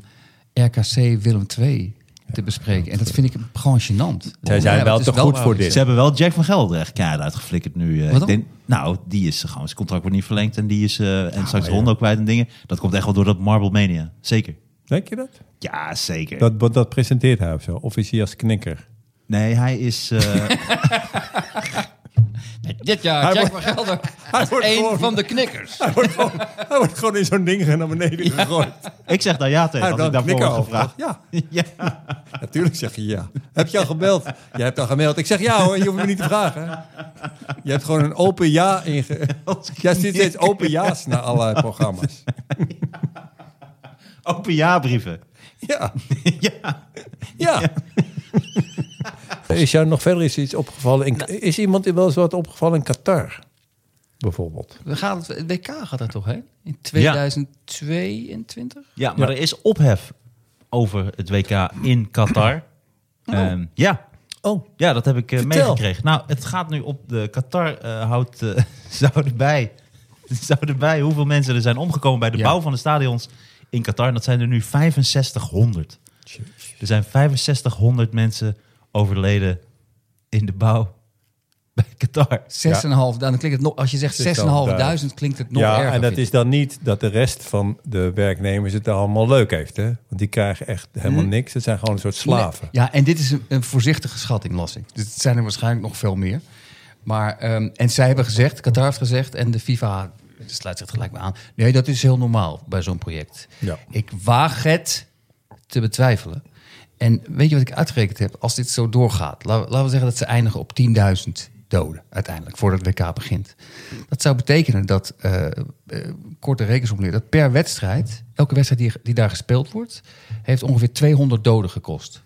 C: RKC Willem II te bespreken? En dat vind ik gewoon gênant.
B: Zij zijn
C: Ja,
B: wel
C: maar het is
B: te goed
C: waar
B: voor
C: wat je
B: dit.
A: Ze hebben wel Jack van Gelder keihard uitgeflikkerd nu. eh.
C: Wat dan?
A: nou, die is gewoon, zijn contract wordt niet verlengd en die is eh,
B: Nou,
A: en straks Rondo kwijt en dingen. Dat komt echt wel door dat Marble Mania. Zeker.
B: Denk je dat?
A: Ja, zeker.
B: dat? Dat presenteert hij of zo. Of is hij als knikker?
A: Nee, hij is.
B: *laughs*
A: eh,
C: zegt. Dit jaar, Jack van Gelder. Hij
B: *laughs* wordt
C: een
B: gewoon-
C: van de knikkers.
B: Hij wordt gewoon, hij wordt gewoon in zo'n ding naar beneden gegooid.
A: ik zeg daar ja tegen.
B: Hij
A: Als ik
B: heeft dan
A: daarvoor
B: knikker
A: word
B: over.
A: gevraagd. *laughs*
B: Ja,
A: Ja.
B: natuurlijk zeg je ja. Heb je al gebeld? Jij hebt al gemaild. Ik zeg ja hoor, je hoeft me niet te vragen. hè. Je hebt gewoon een open ja inge... Jij zit steeds open ja's naar allerlei programma's.
A: Open ja-brieven. *laughs*
B: Ja,
A: ja.
B: ja. Is jou nog verder is iets opgevallen? In, is iemand wel eens wat opgevallen in Qatar? Bijvoorbeeld.
C: We gaan het, het WK gaat daar toch heen? In 2022?
A: Ja, maar er is ophef over het WK in Qatar. Ehm, ja.
B: Oh,
A: ja, dat heb ik eh,
B: Vertel.
A: meegekregen. Nou, het gaat nu op de Qatar eh, houdt eh, *laughs* zouden bij *laughs* zouden bij hoeveel mensen er zijn omgekomen bij de
C: Ja.
A: bouw van de stadions in Qatar. En dat zijn er nu 6500. Er zijn 6500 mensen overleden in de bouw *laughs* bij Qatar.
C: 6,5, nou, dan klinkt het nog, als je zegt 6.500 klinkt het nog
B: ja,
C: erger.
B: en dat
C: vind
B: is dan niet dat de rest van de werknemers het allemaal leuk heeft. Hè? Want die krijgen echt helemaal
C: Hm?
B: niks. Het zijn gewoon een soort slaven.
C: Nee. Ja, en dit is een, een voorzichtige schatting, las ik. Dus het zijn er waarschijnlijk nog veel meer. Maar, ehm, en zij hebben gezegd, Qatar heeft gezegd, en de FIFA sluit zich gelijk maar aan. Nee, dat is heel normaal bij zo'n project.
B: Ja.
C: Ik waag het te betwijfelen. En weet je wat ik uitgerekend heb? Als dit zo doorgaat, la- laten we zeggen dat ze eindigen op 10.000 doden uiteindelijk, voordat het WK begint. Dat zou betekenen dat, eh, eh, korte rekensomleer, dat per wedstrijd, elke wedstrijd die, die daar gespeeld wordt, heeft ongeveer 200 doden gekost.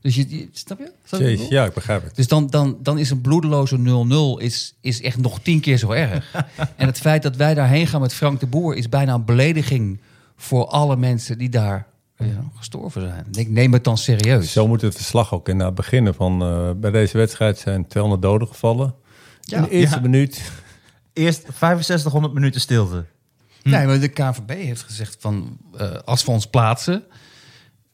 C: Dus je, je- snap je? Snap je wat ik
B: Jezus,
C: bedoel?
B: ja, ik begrijp het.
C: Dus dan, dan, dan is een bloedeloze 0-0 is, is echt nog tien keer zo erg. en het feit dat wij daarheen gaan met Frank de Boer is bijna een belediging voor alle mensen die daar ja, gestorven zijn. Ik denk, neem het dan serieus.
B: Zo moet het verslag ook inderdaad beginnen. Van, eh, bij deze wedstrijd zijn 200 doden gevallen. In de eerste
A: Ja.
B: minuut.
C: Eh,
A: Eerst 6500 minuten stilte.
C: Nee, maar de KVB heeft gezegd van eh, als we ons plaatsen,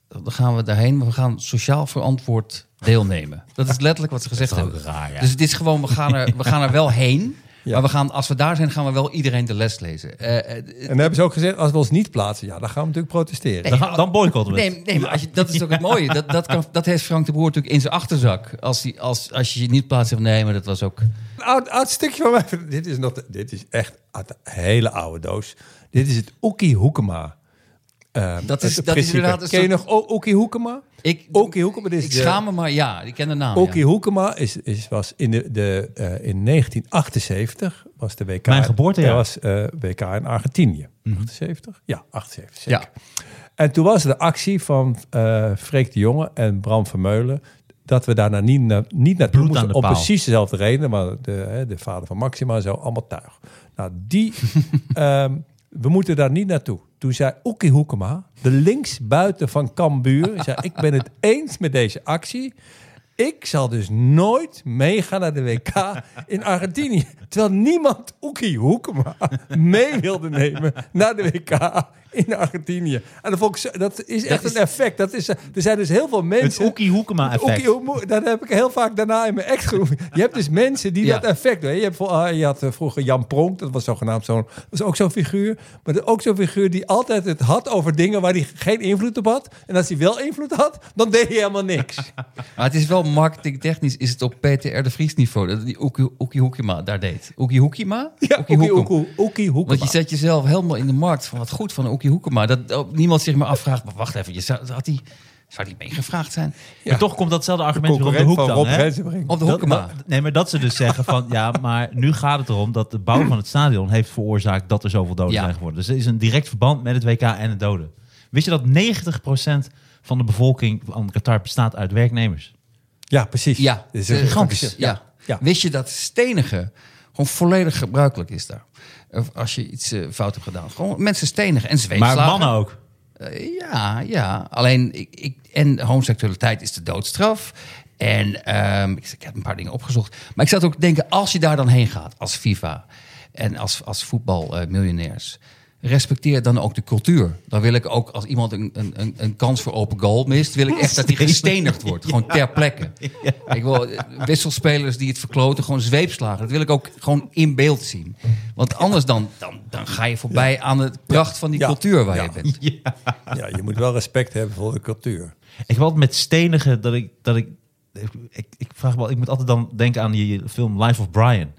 C: dan gaan we daarheen, maar we gaan sociaal verantwoord deelnemen. Dat is letterlijk wat ze gezegd hebben. Dus het is gewoon, we gaan er, we gaan er wel heen. Maar we gaan, als we daar zijn, gaan we wel iedereen de les lezen. Eh, eh,
B: En dan hebben ze ook gezegd, als we ons niet plaatsen, ja, dan gaan we natuurlijk protesteren.
A: Dan, ga- dan boycotten we het.
C: Nee, nee maar als je, dat is ook het mooie. Dat, dat, kan, dat heeft Frank de Boer natuurlijk in zijn achterzak. Als, hij, als, als je je niet plaatst zegt, nee, maar dat was ook...
B: Een oud, oud stukje van mij. *laughs* Dit is, nog, de- dit is echt uit de hele oude doos. Dit is het Oekie Hoekema. eh,
C: Dat is-
B: het
C: dat is
B: principe.
C: inderdaad een
B: Ken je
C: soort-
B: nog O- Oekie Hoekema?
C: Ik,
B: Okie Hoekema, dit is
C: ik
B: de-
C: schaam me, maar ja, ik ken de naam.
B: Oekie
C: ja.
B: Hoekema is, is, was in, de, de, eh, in 1978 was de WK.
A: Mijn Mhm. geboortejaar.
B: Er was eh, WK in Argentinië. 78? Ja, 78. Zeker.
C: Ja.
B: En toen was de actie van eh Freek de Jonge en Bram Vermeulen... dat we daarna niet, na, niet naartoe
A: Bloed aan
B: moesten...
A: de
B: om
A: paal.
B: precies dezelfde reden. Maar de, hè, de vader van Maxima en zo, allemaal tuig. Nou, die...
A: *laughs*
B: ehm, we moeten daar niet naartoe. Toen zei Oekie Hoekema, de linksbuiten van Cambuur... zei, ik ben
A: *laughs*
B: het eens met deze actie... Ik zal dus nooit meegaan naar de WK in Argentinië. Terwijl niemand
A: *laughs*
B: Oekie Hoekema mee wilde nemen naar de WK in Argentinië. En dat, vond ik zo- dat is echt een effect. Dat is, eh, er zijn dus heel veel
A: Het
B: mensen...
A: Oekie Hoekema
B: Het
A: effect.
B: Oekie Hoekema- dat heb ik heel vaak daarna in mijn act geroepen. Je hebt dus mensen die
C: Ja.
B: dat effect doen. Je, hebt, voor- ah, je had eh, vroeger Jan Pronk, dat was zogenaamd zo'n... Dat was ook zo'n figuur. Maar dat- ook zo'n figuur die altijd het had over dingen waar hij geen invloed op had. En als hij wel invloed had, dan deed hij helemaal niks.
C: Maar het is wel marketingtechnisch, is het op PTR de Vries niveau. Dat die Oekie Oekie Hoekema daar deed. Oekie Hoekema?
B: Ja, Oekie
C: Oekie Hoekem.
B: Hoeku- Oekie Hoekema.
C: Want je zet jezelf helemaal in de markt van wat goed van Oekie Hoekema. Dat ook niemand zich meer afvraagt, maar wacht even, je zou, had die, zou die meegevraagd zijn?
A: Maar toch komt datzelfde argument weer op de hoek dan. hè?
C: Op de
A: Dat-
C: Hoekema.
A: maar- nee, maar dat ze dus zeggen van
C: *laughs*
A: ja, maar nu gaat het erom dat de bouw van het stadion heeft veroorzaakt dat er zoveel doden
C: Ja.
A: zijn geworden. Dus er is een direct verband met het WK en het doden. Wist je dat 90% van de bevolking van Qatar bestaat uit werknemers?
B: Ja, precies. *laughs*
C: Ja,
B: Dit is een-
A: gigantisch.
C: Ja.
B: Ja.
C: Wist je dat stenigen gewoon volledig gebruikelijk is daar? Of Als je iets eh, fout hebt gedaan. Gewoon mensen stenigen en
A: maar
C: zweepslagen.
A: mannen ook.
C: Eh, ja, ja. Alleen, ik, ik, en homoseksualiteit is de doodstraf. En ehm, ik, ik heb een paar dingen opgezocht. Maar ik zat ook te denken, als je daar dan heen gaat als FIFA en als, als voetbalmiljonairs... respecteer dan ook de cultuur. Dan wil ik ook, als iemand een, een, een, een kans voor open goal mist... wil ik
B: *laughs*
C: echt dat die gestenigd wordt, gewoon ter plekke. Ik wil eh, wisselspelers die het verkloten, gewoon zweepslagen. Dat wil ik ook gewoon in beeld zien. Want anders dan, dan, dan ga je voorbij aan de pracht van die
B: Ja.
C: cultuur waar je
B: Ja.
C: bent.
B: Ja, je moet wel respect hebben voor de cultuur.
A: Ik had met stenigen dat ik dat ik ik, ik vraag wel, ik moet altijd dan denken aan die film Life of Brian.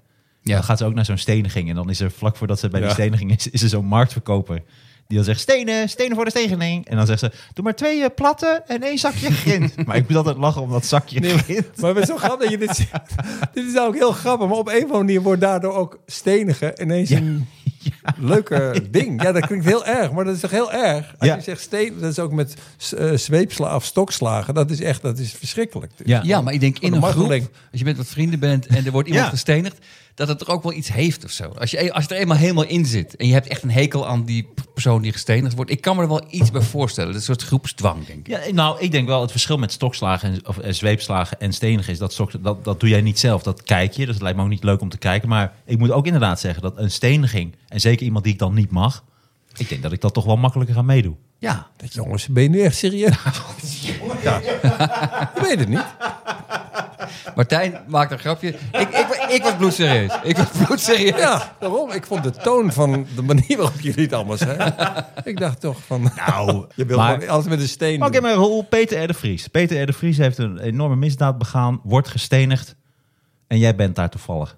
C: Ja.
A: Dan gaat ze ook naar zo'n steniging. En dan is er vlak voordat ze bij
B: Ja.
A: die steniging is, is er zo'n marktverkoper. Die dan zegt, stenen, stenen voor de steniging. En dan zegt ze, doe maar twee eh, platte en één zakje
B: *laughs*
A: grind. maar ik moet altijd lachen om dat zakje grind.
B: Maar het is zo grappig dat je dit zegt.
A: *laughs*
B: Dit is nou ook heel grappig, maar op een of andere manier wordt daardoor ook stenigen ineens een
A: *laughs*
B: leuker ding. Ja, dat klinkt heel erg, maar dat is toch heel erg? Als
A: Ja.
B: je zegt stenen, dat is ook met eh zweepslagen of stokslagen. Dat is echt, dat is verschrikkelijk.
A: Ja.
C: Ja, maar ik denk in
B: de
C: een groep,
B: marteling.
C: als je met wat vrienden bent en er wordt iemand
A: Ja.
C: gestenigd, dat het er ook wel iets heeft of zo. Als je, e- als je er eenmaal helemaal in zit en je hebt echt een hekel aan die p- persoon die gestenigd wordt, ik kan me er wel iets bij voorstellen. Dat is een soort groepsdwang, denk ik.
A: Ja, nou, ik denk wel het verschil met stokslagen en, of, eh, zweepslagen en stenigen is dat, stok, dat dat doe jij niet zelf. Dat kijk je, dus het lijkt me ook niet leuk om te kijken. Maar ik moet ook inderdaad zeggen dat een steniging, en zeker iemand die ik dan niet mag, ik denk dat ik dat toch wel makkelijker ga meedoen.
C: Ja,
A: *laughs*
B: Dat,
A: Nou,
B: *laughs* jongens, ben je nu echt serieus? Ja. Ik weet het niet.
C: Martijn maakt een grapje. Ik, ik, ik was bloedserieus. Ik was bloedserieus.
B: Ja, daarom. Ik vond de toon van de manier waarop jullie het allemaal
A: *laughs*
B: zeiden. Ik dacht toch van...
A: Nou,
B: *laughs* Je wilt
A: maar-
B: gewoon alles met een steen
A: Oké,
B: doen.
A: maar Roel, Peter R. de Vries. Peter R. de Vries heeft een enorme misdaad begaan, wordt gestenigd. En jij bent daar toevallig.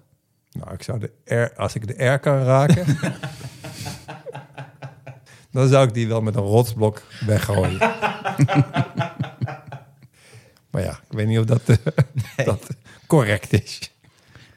B: Nou, ik zou de R, als ik de R kan raken... *laughs* dan zou ik die wel met een rotsblok *laughs* weggooien. maar ja, ik weet niet of dat, eh, dat correct is.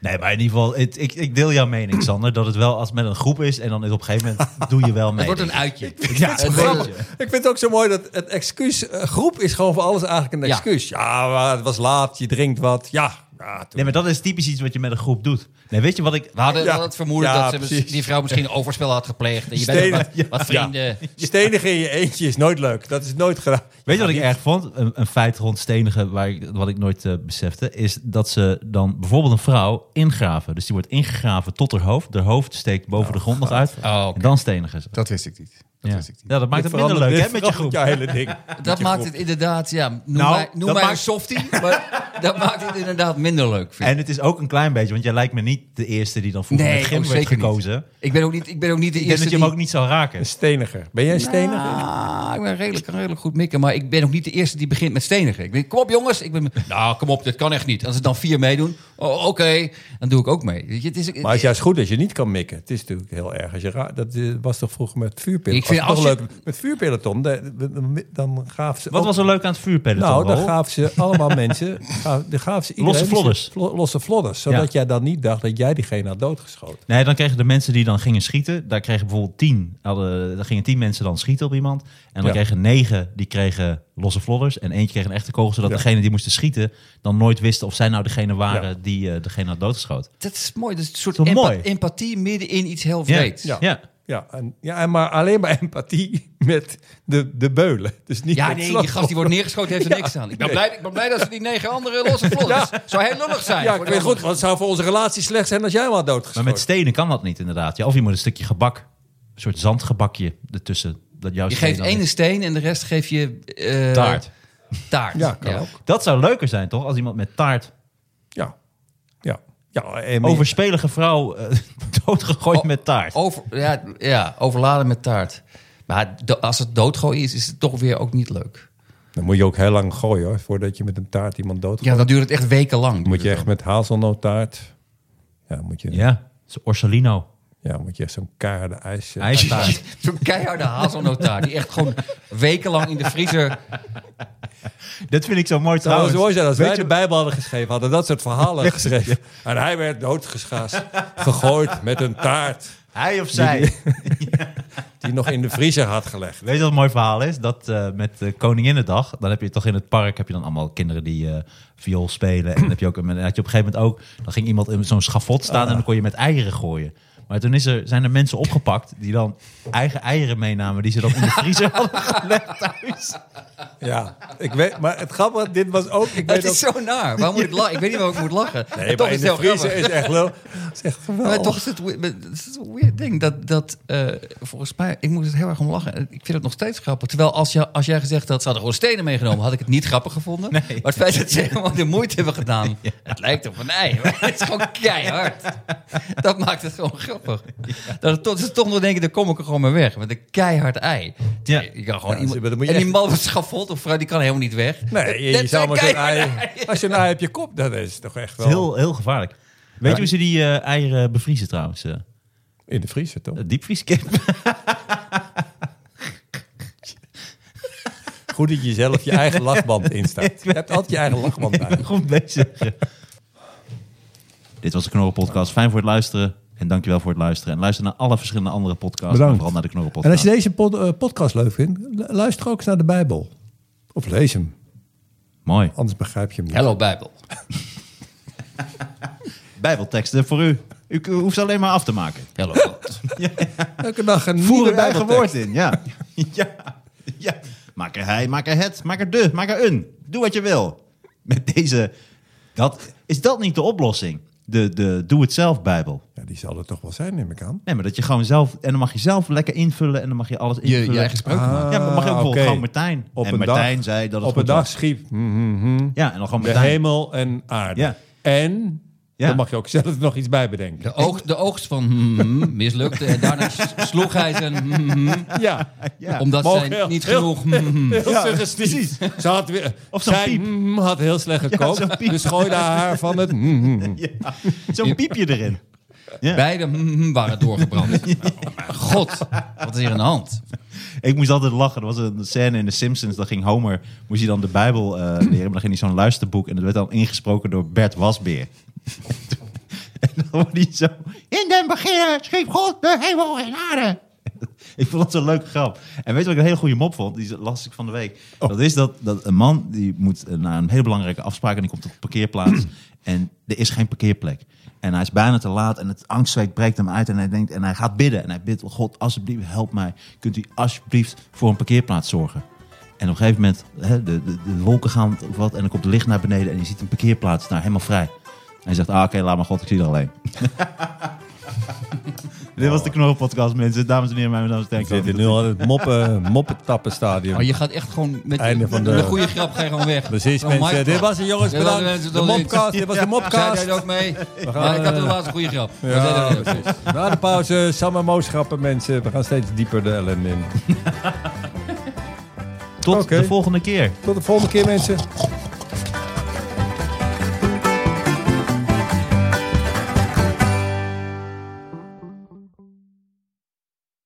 A: Nee, maar in ieder geval, het- ik, ik deel jouw mening, *clears throat* Sander. Dat het wel als het met een groep is en dan is op een gegeven moment doe je wel mee.
C: *laughs* Het wordt een uitje.
A: ja, een beetje.
B: Ik vind het ook zo mooi dat het excuus... eh, groep is gewoon voor alles eigenlijk een
C: Ja.
B: excuus. Ja, maar het was laat, je drinkt wat. Ja, ja toen-
A: Nee, maar dat is typisch iets wat je met een groep doet. Nee, weet je wat ik...
C: We hadden
B: Ja,
C: wel het vermoeden
B: ja,
C: dat ze,
B: precies.
C: die vrouw misschien overspel had gepleegd. En je
B: Stenen,
C: bent wat, wat vrienden.
B: Stenigen in je eentje is nooit leuk. Dat is nooit gedaan.
A: Weet je wat ik erg vond? Een, een feit rond stenigen, waar ik, wat ik nooit eh, besefte, is dat ze dan bijvoorbeeld een vrouw ingraven. Dus die wordt ingegraven tot haar hoofd. Haar hoofd steekt boven de grond nog uit.
C: Oh, oké.
A: En dan stenigen ze.
E: Dat wist ik niet. Dat
A: ja.
E: wist ik niet.
A: Ja, dat maakt het minder leuk, hè, met je groep.
B: jouw hele ding.
C: Dat maakt het inderdaad, ja, noem
A: Nou,
C: mij, noem
A: dat
C: mij een
A: maakt-
C: softie. Maar *laughs* dat maakt het inderdaad minder leuk, vind ik.
A: En het is ook een klein beetje, want jij lijkt me niet de eerste die dan vroeger
C: Nee,
A: met gym
C: oh,
A: werd
C: zeker
A: gekozen.
C: niet. Ik ben ook niet, ik ben ook niet de
A: Ik denk
C: eerste
A: dat je hem
C: die... Dus
A: ook niet zou raken.
B: Een steniger. Ben jij een steniger?
C: Ah, ik ben redelijk, kan redelijk goed mikken, maar ik ben ook niet de eerste die begint met stenigen. Ik denk, kom op jongens. Ik ben, nou, kom op, dit kan echt niet. Als er dan vier meedoen, oh, oké, dan doe ik ook mee. Weet je, het is,
B: Maar het is juist goed als je niet kan mikken. Het is natuurlijk heel erg. Als je ra- dat eh, was toch vroeger met vuurpillen.
C: Ik vind
B: Was het toch
C: als je-
B: leuk. Met vuurpeloton, de- de- de- dan gaven ze...
A: Wat
B: ook-
A: was er leuk aan het vuurpeloton?
B: Nou, dan
A: Roel?
B: gaven ze allemaal mensen... ga- dan gaven ze iedereen
A: Losse vlodders.
B: vlo- Losse vlodders. Zodat
A: Ja.
B: jij dan niet dacht dat jij diegene had doodgeschoten.
A: Nee, dan kregen de mensen die dan gingen schieten, daar kregen bijvoorbeeld tien, hadden, daar gingen tien mensen dan schieten op iemand. En dan
B: Ja.
A: kregen negen, die kregen losse vlodders. En eentje kreeg een echte kogel, zodat degene die moesten schieten dan nooit wisten of zij nou degene waren
B: Ja.
A: die eh, degene had doodgeschoten.
C: dat is mooi. Dat is een soort
A: Dat is
C: empa-
A: mooi.
C: empathie midden in iets heel
A: Ja.
C: vreeds.
A: Ja.
B: Ja, en, ja en maar alleen maar empathie *laughs* met de, de beulen. Dus niet
C: Ja,
B: met
C: nee, die
B: slachtoffers.
C: gast die wordt neergeschoten heeft er niks aan. Ik ben,
B: nee.
C: blij, ik ben blij dat ze die negen anderen losse vlodders. Zou heel lullig zijn.
B: Ja, ik weet goed, want het zou voor onze relatie slecht zijn als jij wel had
A: Maar
B: doodgeschoten.
A: met stenen kan dat niet inderdaad. Ja, of je moet een stukje gebak, een soort zandgebakje ertussen. Dat jouw
C: Je
A: steen
C: geeft
A: dan
C: ene
A: is.
C: steen en de rest geef je... eh,
A: Taart.
C: Taart.
B: Ja, kan ook.
A: Dat zou leuker zijn, toch? Als iemand met taart
B: Ja. Ja. ja en maar-
A: overspelige vrouw eh, *laughs* doodgegooid
C: Oh,
A: met taart.
C: Over, ja, ja, overladen met taart. Maar do- als het doodgooien is, is het toch weer ook niet leuk.
B: Dan moet je ook heel lang gooien hoor, voordat je met een taart iemand doodgaat.
C: Ja, dan duurt het echt wekenlang.
B: Dan moet je echt met hazelnoottaart. Ja, dan moet je, ja.
A: Ja, dat is Orsolino.
B: dan moet je echt zo'n keiharde ijs. eh, *laughs*
A: IJs-
B: taart.
C: Zo'n *laughs* keiharde hazelnotaar die echt gewoon wekenlang in de vriezer...
A: Dat vind ik zo mooi
B: Het zou
A: trouwens.
B: zo mooi zijn als
A: Weet
B: wij
A: je-
B: de Bijbel hadden geschreven, hadden dat soort
C: *laughs*
B: verhalen geschreven. En hij werd doodgeschaasd, gegooid met een taart
A: Hij of zij.
B: die nog in de vriezer had gelegd.
A: Weet je wat een mooi verhaal is? Dat eh, met eh, Koninginnedag, dan heb je toch in het park heb je dan allemaal kinderen die eh, viool spelen. En dan heb je ook, en dan had je op een gegeven moment ook, dan ging iemand in zo'n schafot staan en dan kon je met eieren gooien. Maar toen is er, zijn er mensen opgepakt die dan eigen eieren meenamen die ze dan in de vriezer hadden *laughs* gelegd thuis.
B: Ja, ik weet, maar het grappige, dit was ook. Ik weet
C: Het is
B: ook,
C: zo naar. Waarom moet ik lachen? Ik weet niet waarom ik moet lachen. En
B: nee,
C: toch
B: maar
C: is
B: in
C: het
B: de
C: heel
B: vriezer
C: grappig.
B: is echt lul. Het is echt geweldig.
C: Maar toch is het, we- maar het is een weird ding. Dat, dat, eh, volgens mij, ik moet het heel erg om lachen. Ik vind het nog steeds grappig. Terwijl als, je, als jij gezegd had, ze hadden gewoon stenen meegenomen, had ik het niet grappig gevonden. Maar het feit dat ze helemaal de moeite hebben gedaan, het lijkt op een ei. maar Het is gewoon keihard. Dat maakt het gewoon grappig. Dat het toch, ze toch nog denken, dan kom ik er gewoon mee weg. Met een keihard ei.
A: Ja.
C: Je kan gewoon
B: Ja,
C: iemand,
B: maar dan
C: en
B: moet je
C: die
B: echt-
C: man was schafold of vrouw, die kan helemaal niet weg.
B: Nee,
C: *laughs*
B: je,
C: Dat
B: je
C: zijn
B: zou maar zo'n
C: keiharde
B: ei... Als je een ei op je kop, dat is toch echt wel...
A: Heel, heel gevaarlijk. Weet je hoe ze die eh, eieren bevriezen trouwens? eh
B: In de vriezer, toch?
A: diepvrieskip. *laughs*
B: Goed dat je zelf je eigen lachband *laughs* instaat. Je hebt altijd je eigen lachband bij.
A: Goed bezig. Dit was de Knorren Podcast. Fijn voor het luisteren. En dankjewel voor het luisteren. En luister naar alle verschillende andere podcasts.
B: Bedankt.
A: Maar vooral naar de Knorren
B: En als
A: Podcast.
B: je deze pod- eh, podcast leuk vindt, lu- luister ook eens naar de Bijbel. Of lees hem,
A: Mooi.
B: anders begrijp je hem niet.
C: Hello Bijbel.
A: Bijbelteksten voor u. U k- hoeft ze alleen maar af te maken.
C: Hello
A: *laughs*
C: God.
B: Elke dag een
A: Voer
B: nieuwe
A: het eigen
B: Bijbeltekst.
A: woord in. Ja. *laughs* ja. ja. Maak er hij, maak er het, maak er de, maak er een. Doe wat je wil. Met deze. Dat, is dat niet de oplossing? de, de doe-het-zelf-bijbel.
B: Ja, die zal er toch wel zijn, neem ik aan.
A: Nee, maar dat je gewoon zelf... En dan mag je zelf lekker invullen en dan mag je alles invullen.
C: je eigen sprookje
B: maken.
A: Ja, maar mag je ook
B: Ah,
A: bijvoorbeeld
B: oké.
A: gewoon Martijn.
B: Op
A: en
B: een
A: Martijn
B: dag-
A: zei dat het
B: Op een
A: goed
B: dag
A: was.
B: schiep mm, mm, mm,
A: Ja, en dan gewoon
B: de
A: Martijn.
B: hemel en aarde.
A: Ja.
B: En
A: Ja.
B: dan mag je ook zelf nog iets bij bedenken.
C: De, oogst, de oogst van hmm, mislukte. En daarna s- sloeg hij zijn hmm,
B: Ja,
A: *laughs* Ja.
C: omdat
B: maar ook
C: zij
B: heel-
C: niet
B: heel-
C: genoeg hmm.
B: heel suggestief. Ze had weer,
A: Of zo'n
B: zij
A: piep.
B: mm, had heel slecht gekookt,
A: zo'n piep.
B: dus gooide haar van het mm, mm, mm.
A: *laughs* Zo'n piepje erin.
C: Beide hmm, waren doorgebrand.
B: *laughs*
C: Oh, mijn God, wat is hier aan de hand?
A: Ik moest altijd lachen. Er was een scène in The Simpsons. Dan ging Homer, moest hij dan de Bijbel eh, leren. Maar dan ging hij zo'n luisterboek. En dat werd dan ingesproken door Bert Wasbeer. *laughs* en dan hoorde hij zo... In den beginnen schiep God de hemel en aarde. *laughs* ik vond dat zo'n leuke grap. En weet je wat ik een hele goede mop vond? Die las ik van de week. Dat is dat, dat een man, die moet eh, naar een hele belangrijke afspraak... en die komt op een *clears throat* parkeerplaats. en er is geen parkeerplek. En hij is bijna te laat en het angstzweet breekt hem uit. En hij denkt, en hij gaat bidden. En hij bidt, "Oh God, alsjeblieft, help mij. Kunt u alsjeblieft voor een parkeerplaats zorgen? En op een gegeven moment, hè, de, de, de wolken gaan of wat. En dan komt het licht naar beneden en je ziet een parkeerplaats daar helemaal vrij. En hij zegt, ah, oké, laat maar God, ik zie het alleen. Oh. Dit was de Knorrelpodcast, mensen. Dames en heren, mijn naam is Denk.
B: Ik zit hier nu al in het moppen, moppetappenstadium.
C: Maar je gaat echt gewoon met
B: Einde van de-
C: een goede grap ga je gewoon weg.
B: Precies,
C: Oh,
B: mensen.
C: Michael.
B: Dit was het, jongens.
C: Dit was het,
B: Bedankt.
C: mensen.
B: De
C: Tot ziens.
B: mopcast. Dit was de
C: Zij
B: mopcast.
C: deed ook mee.
B: gaan,
C: Maar ik had
B: eh,
C: de laatste goede grap.
B: Ja,
C: Dat deed hij nou ook.
B: Na de pauze, Sam en Moos grappen, mensen. We gaan steeds dieper de ellende in.
A: Tot
B: Oké.
A: de volgende keer.
B: Tot de volgende keer, mensen.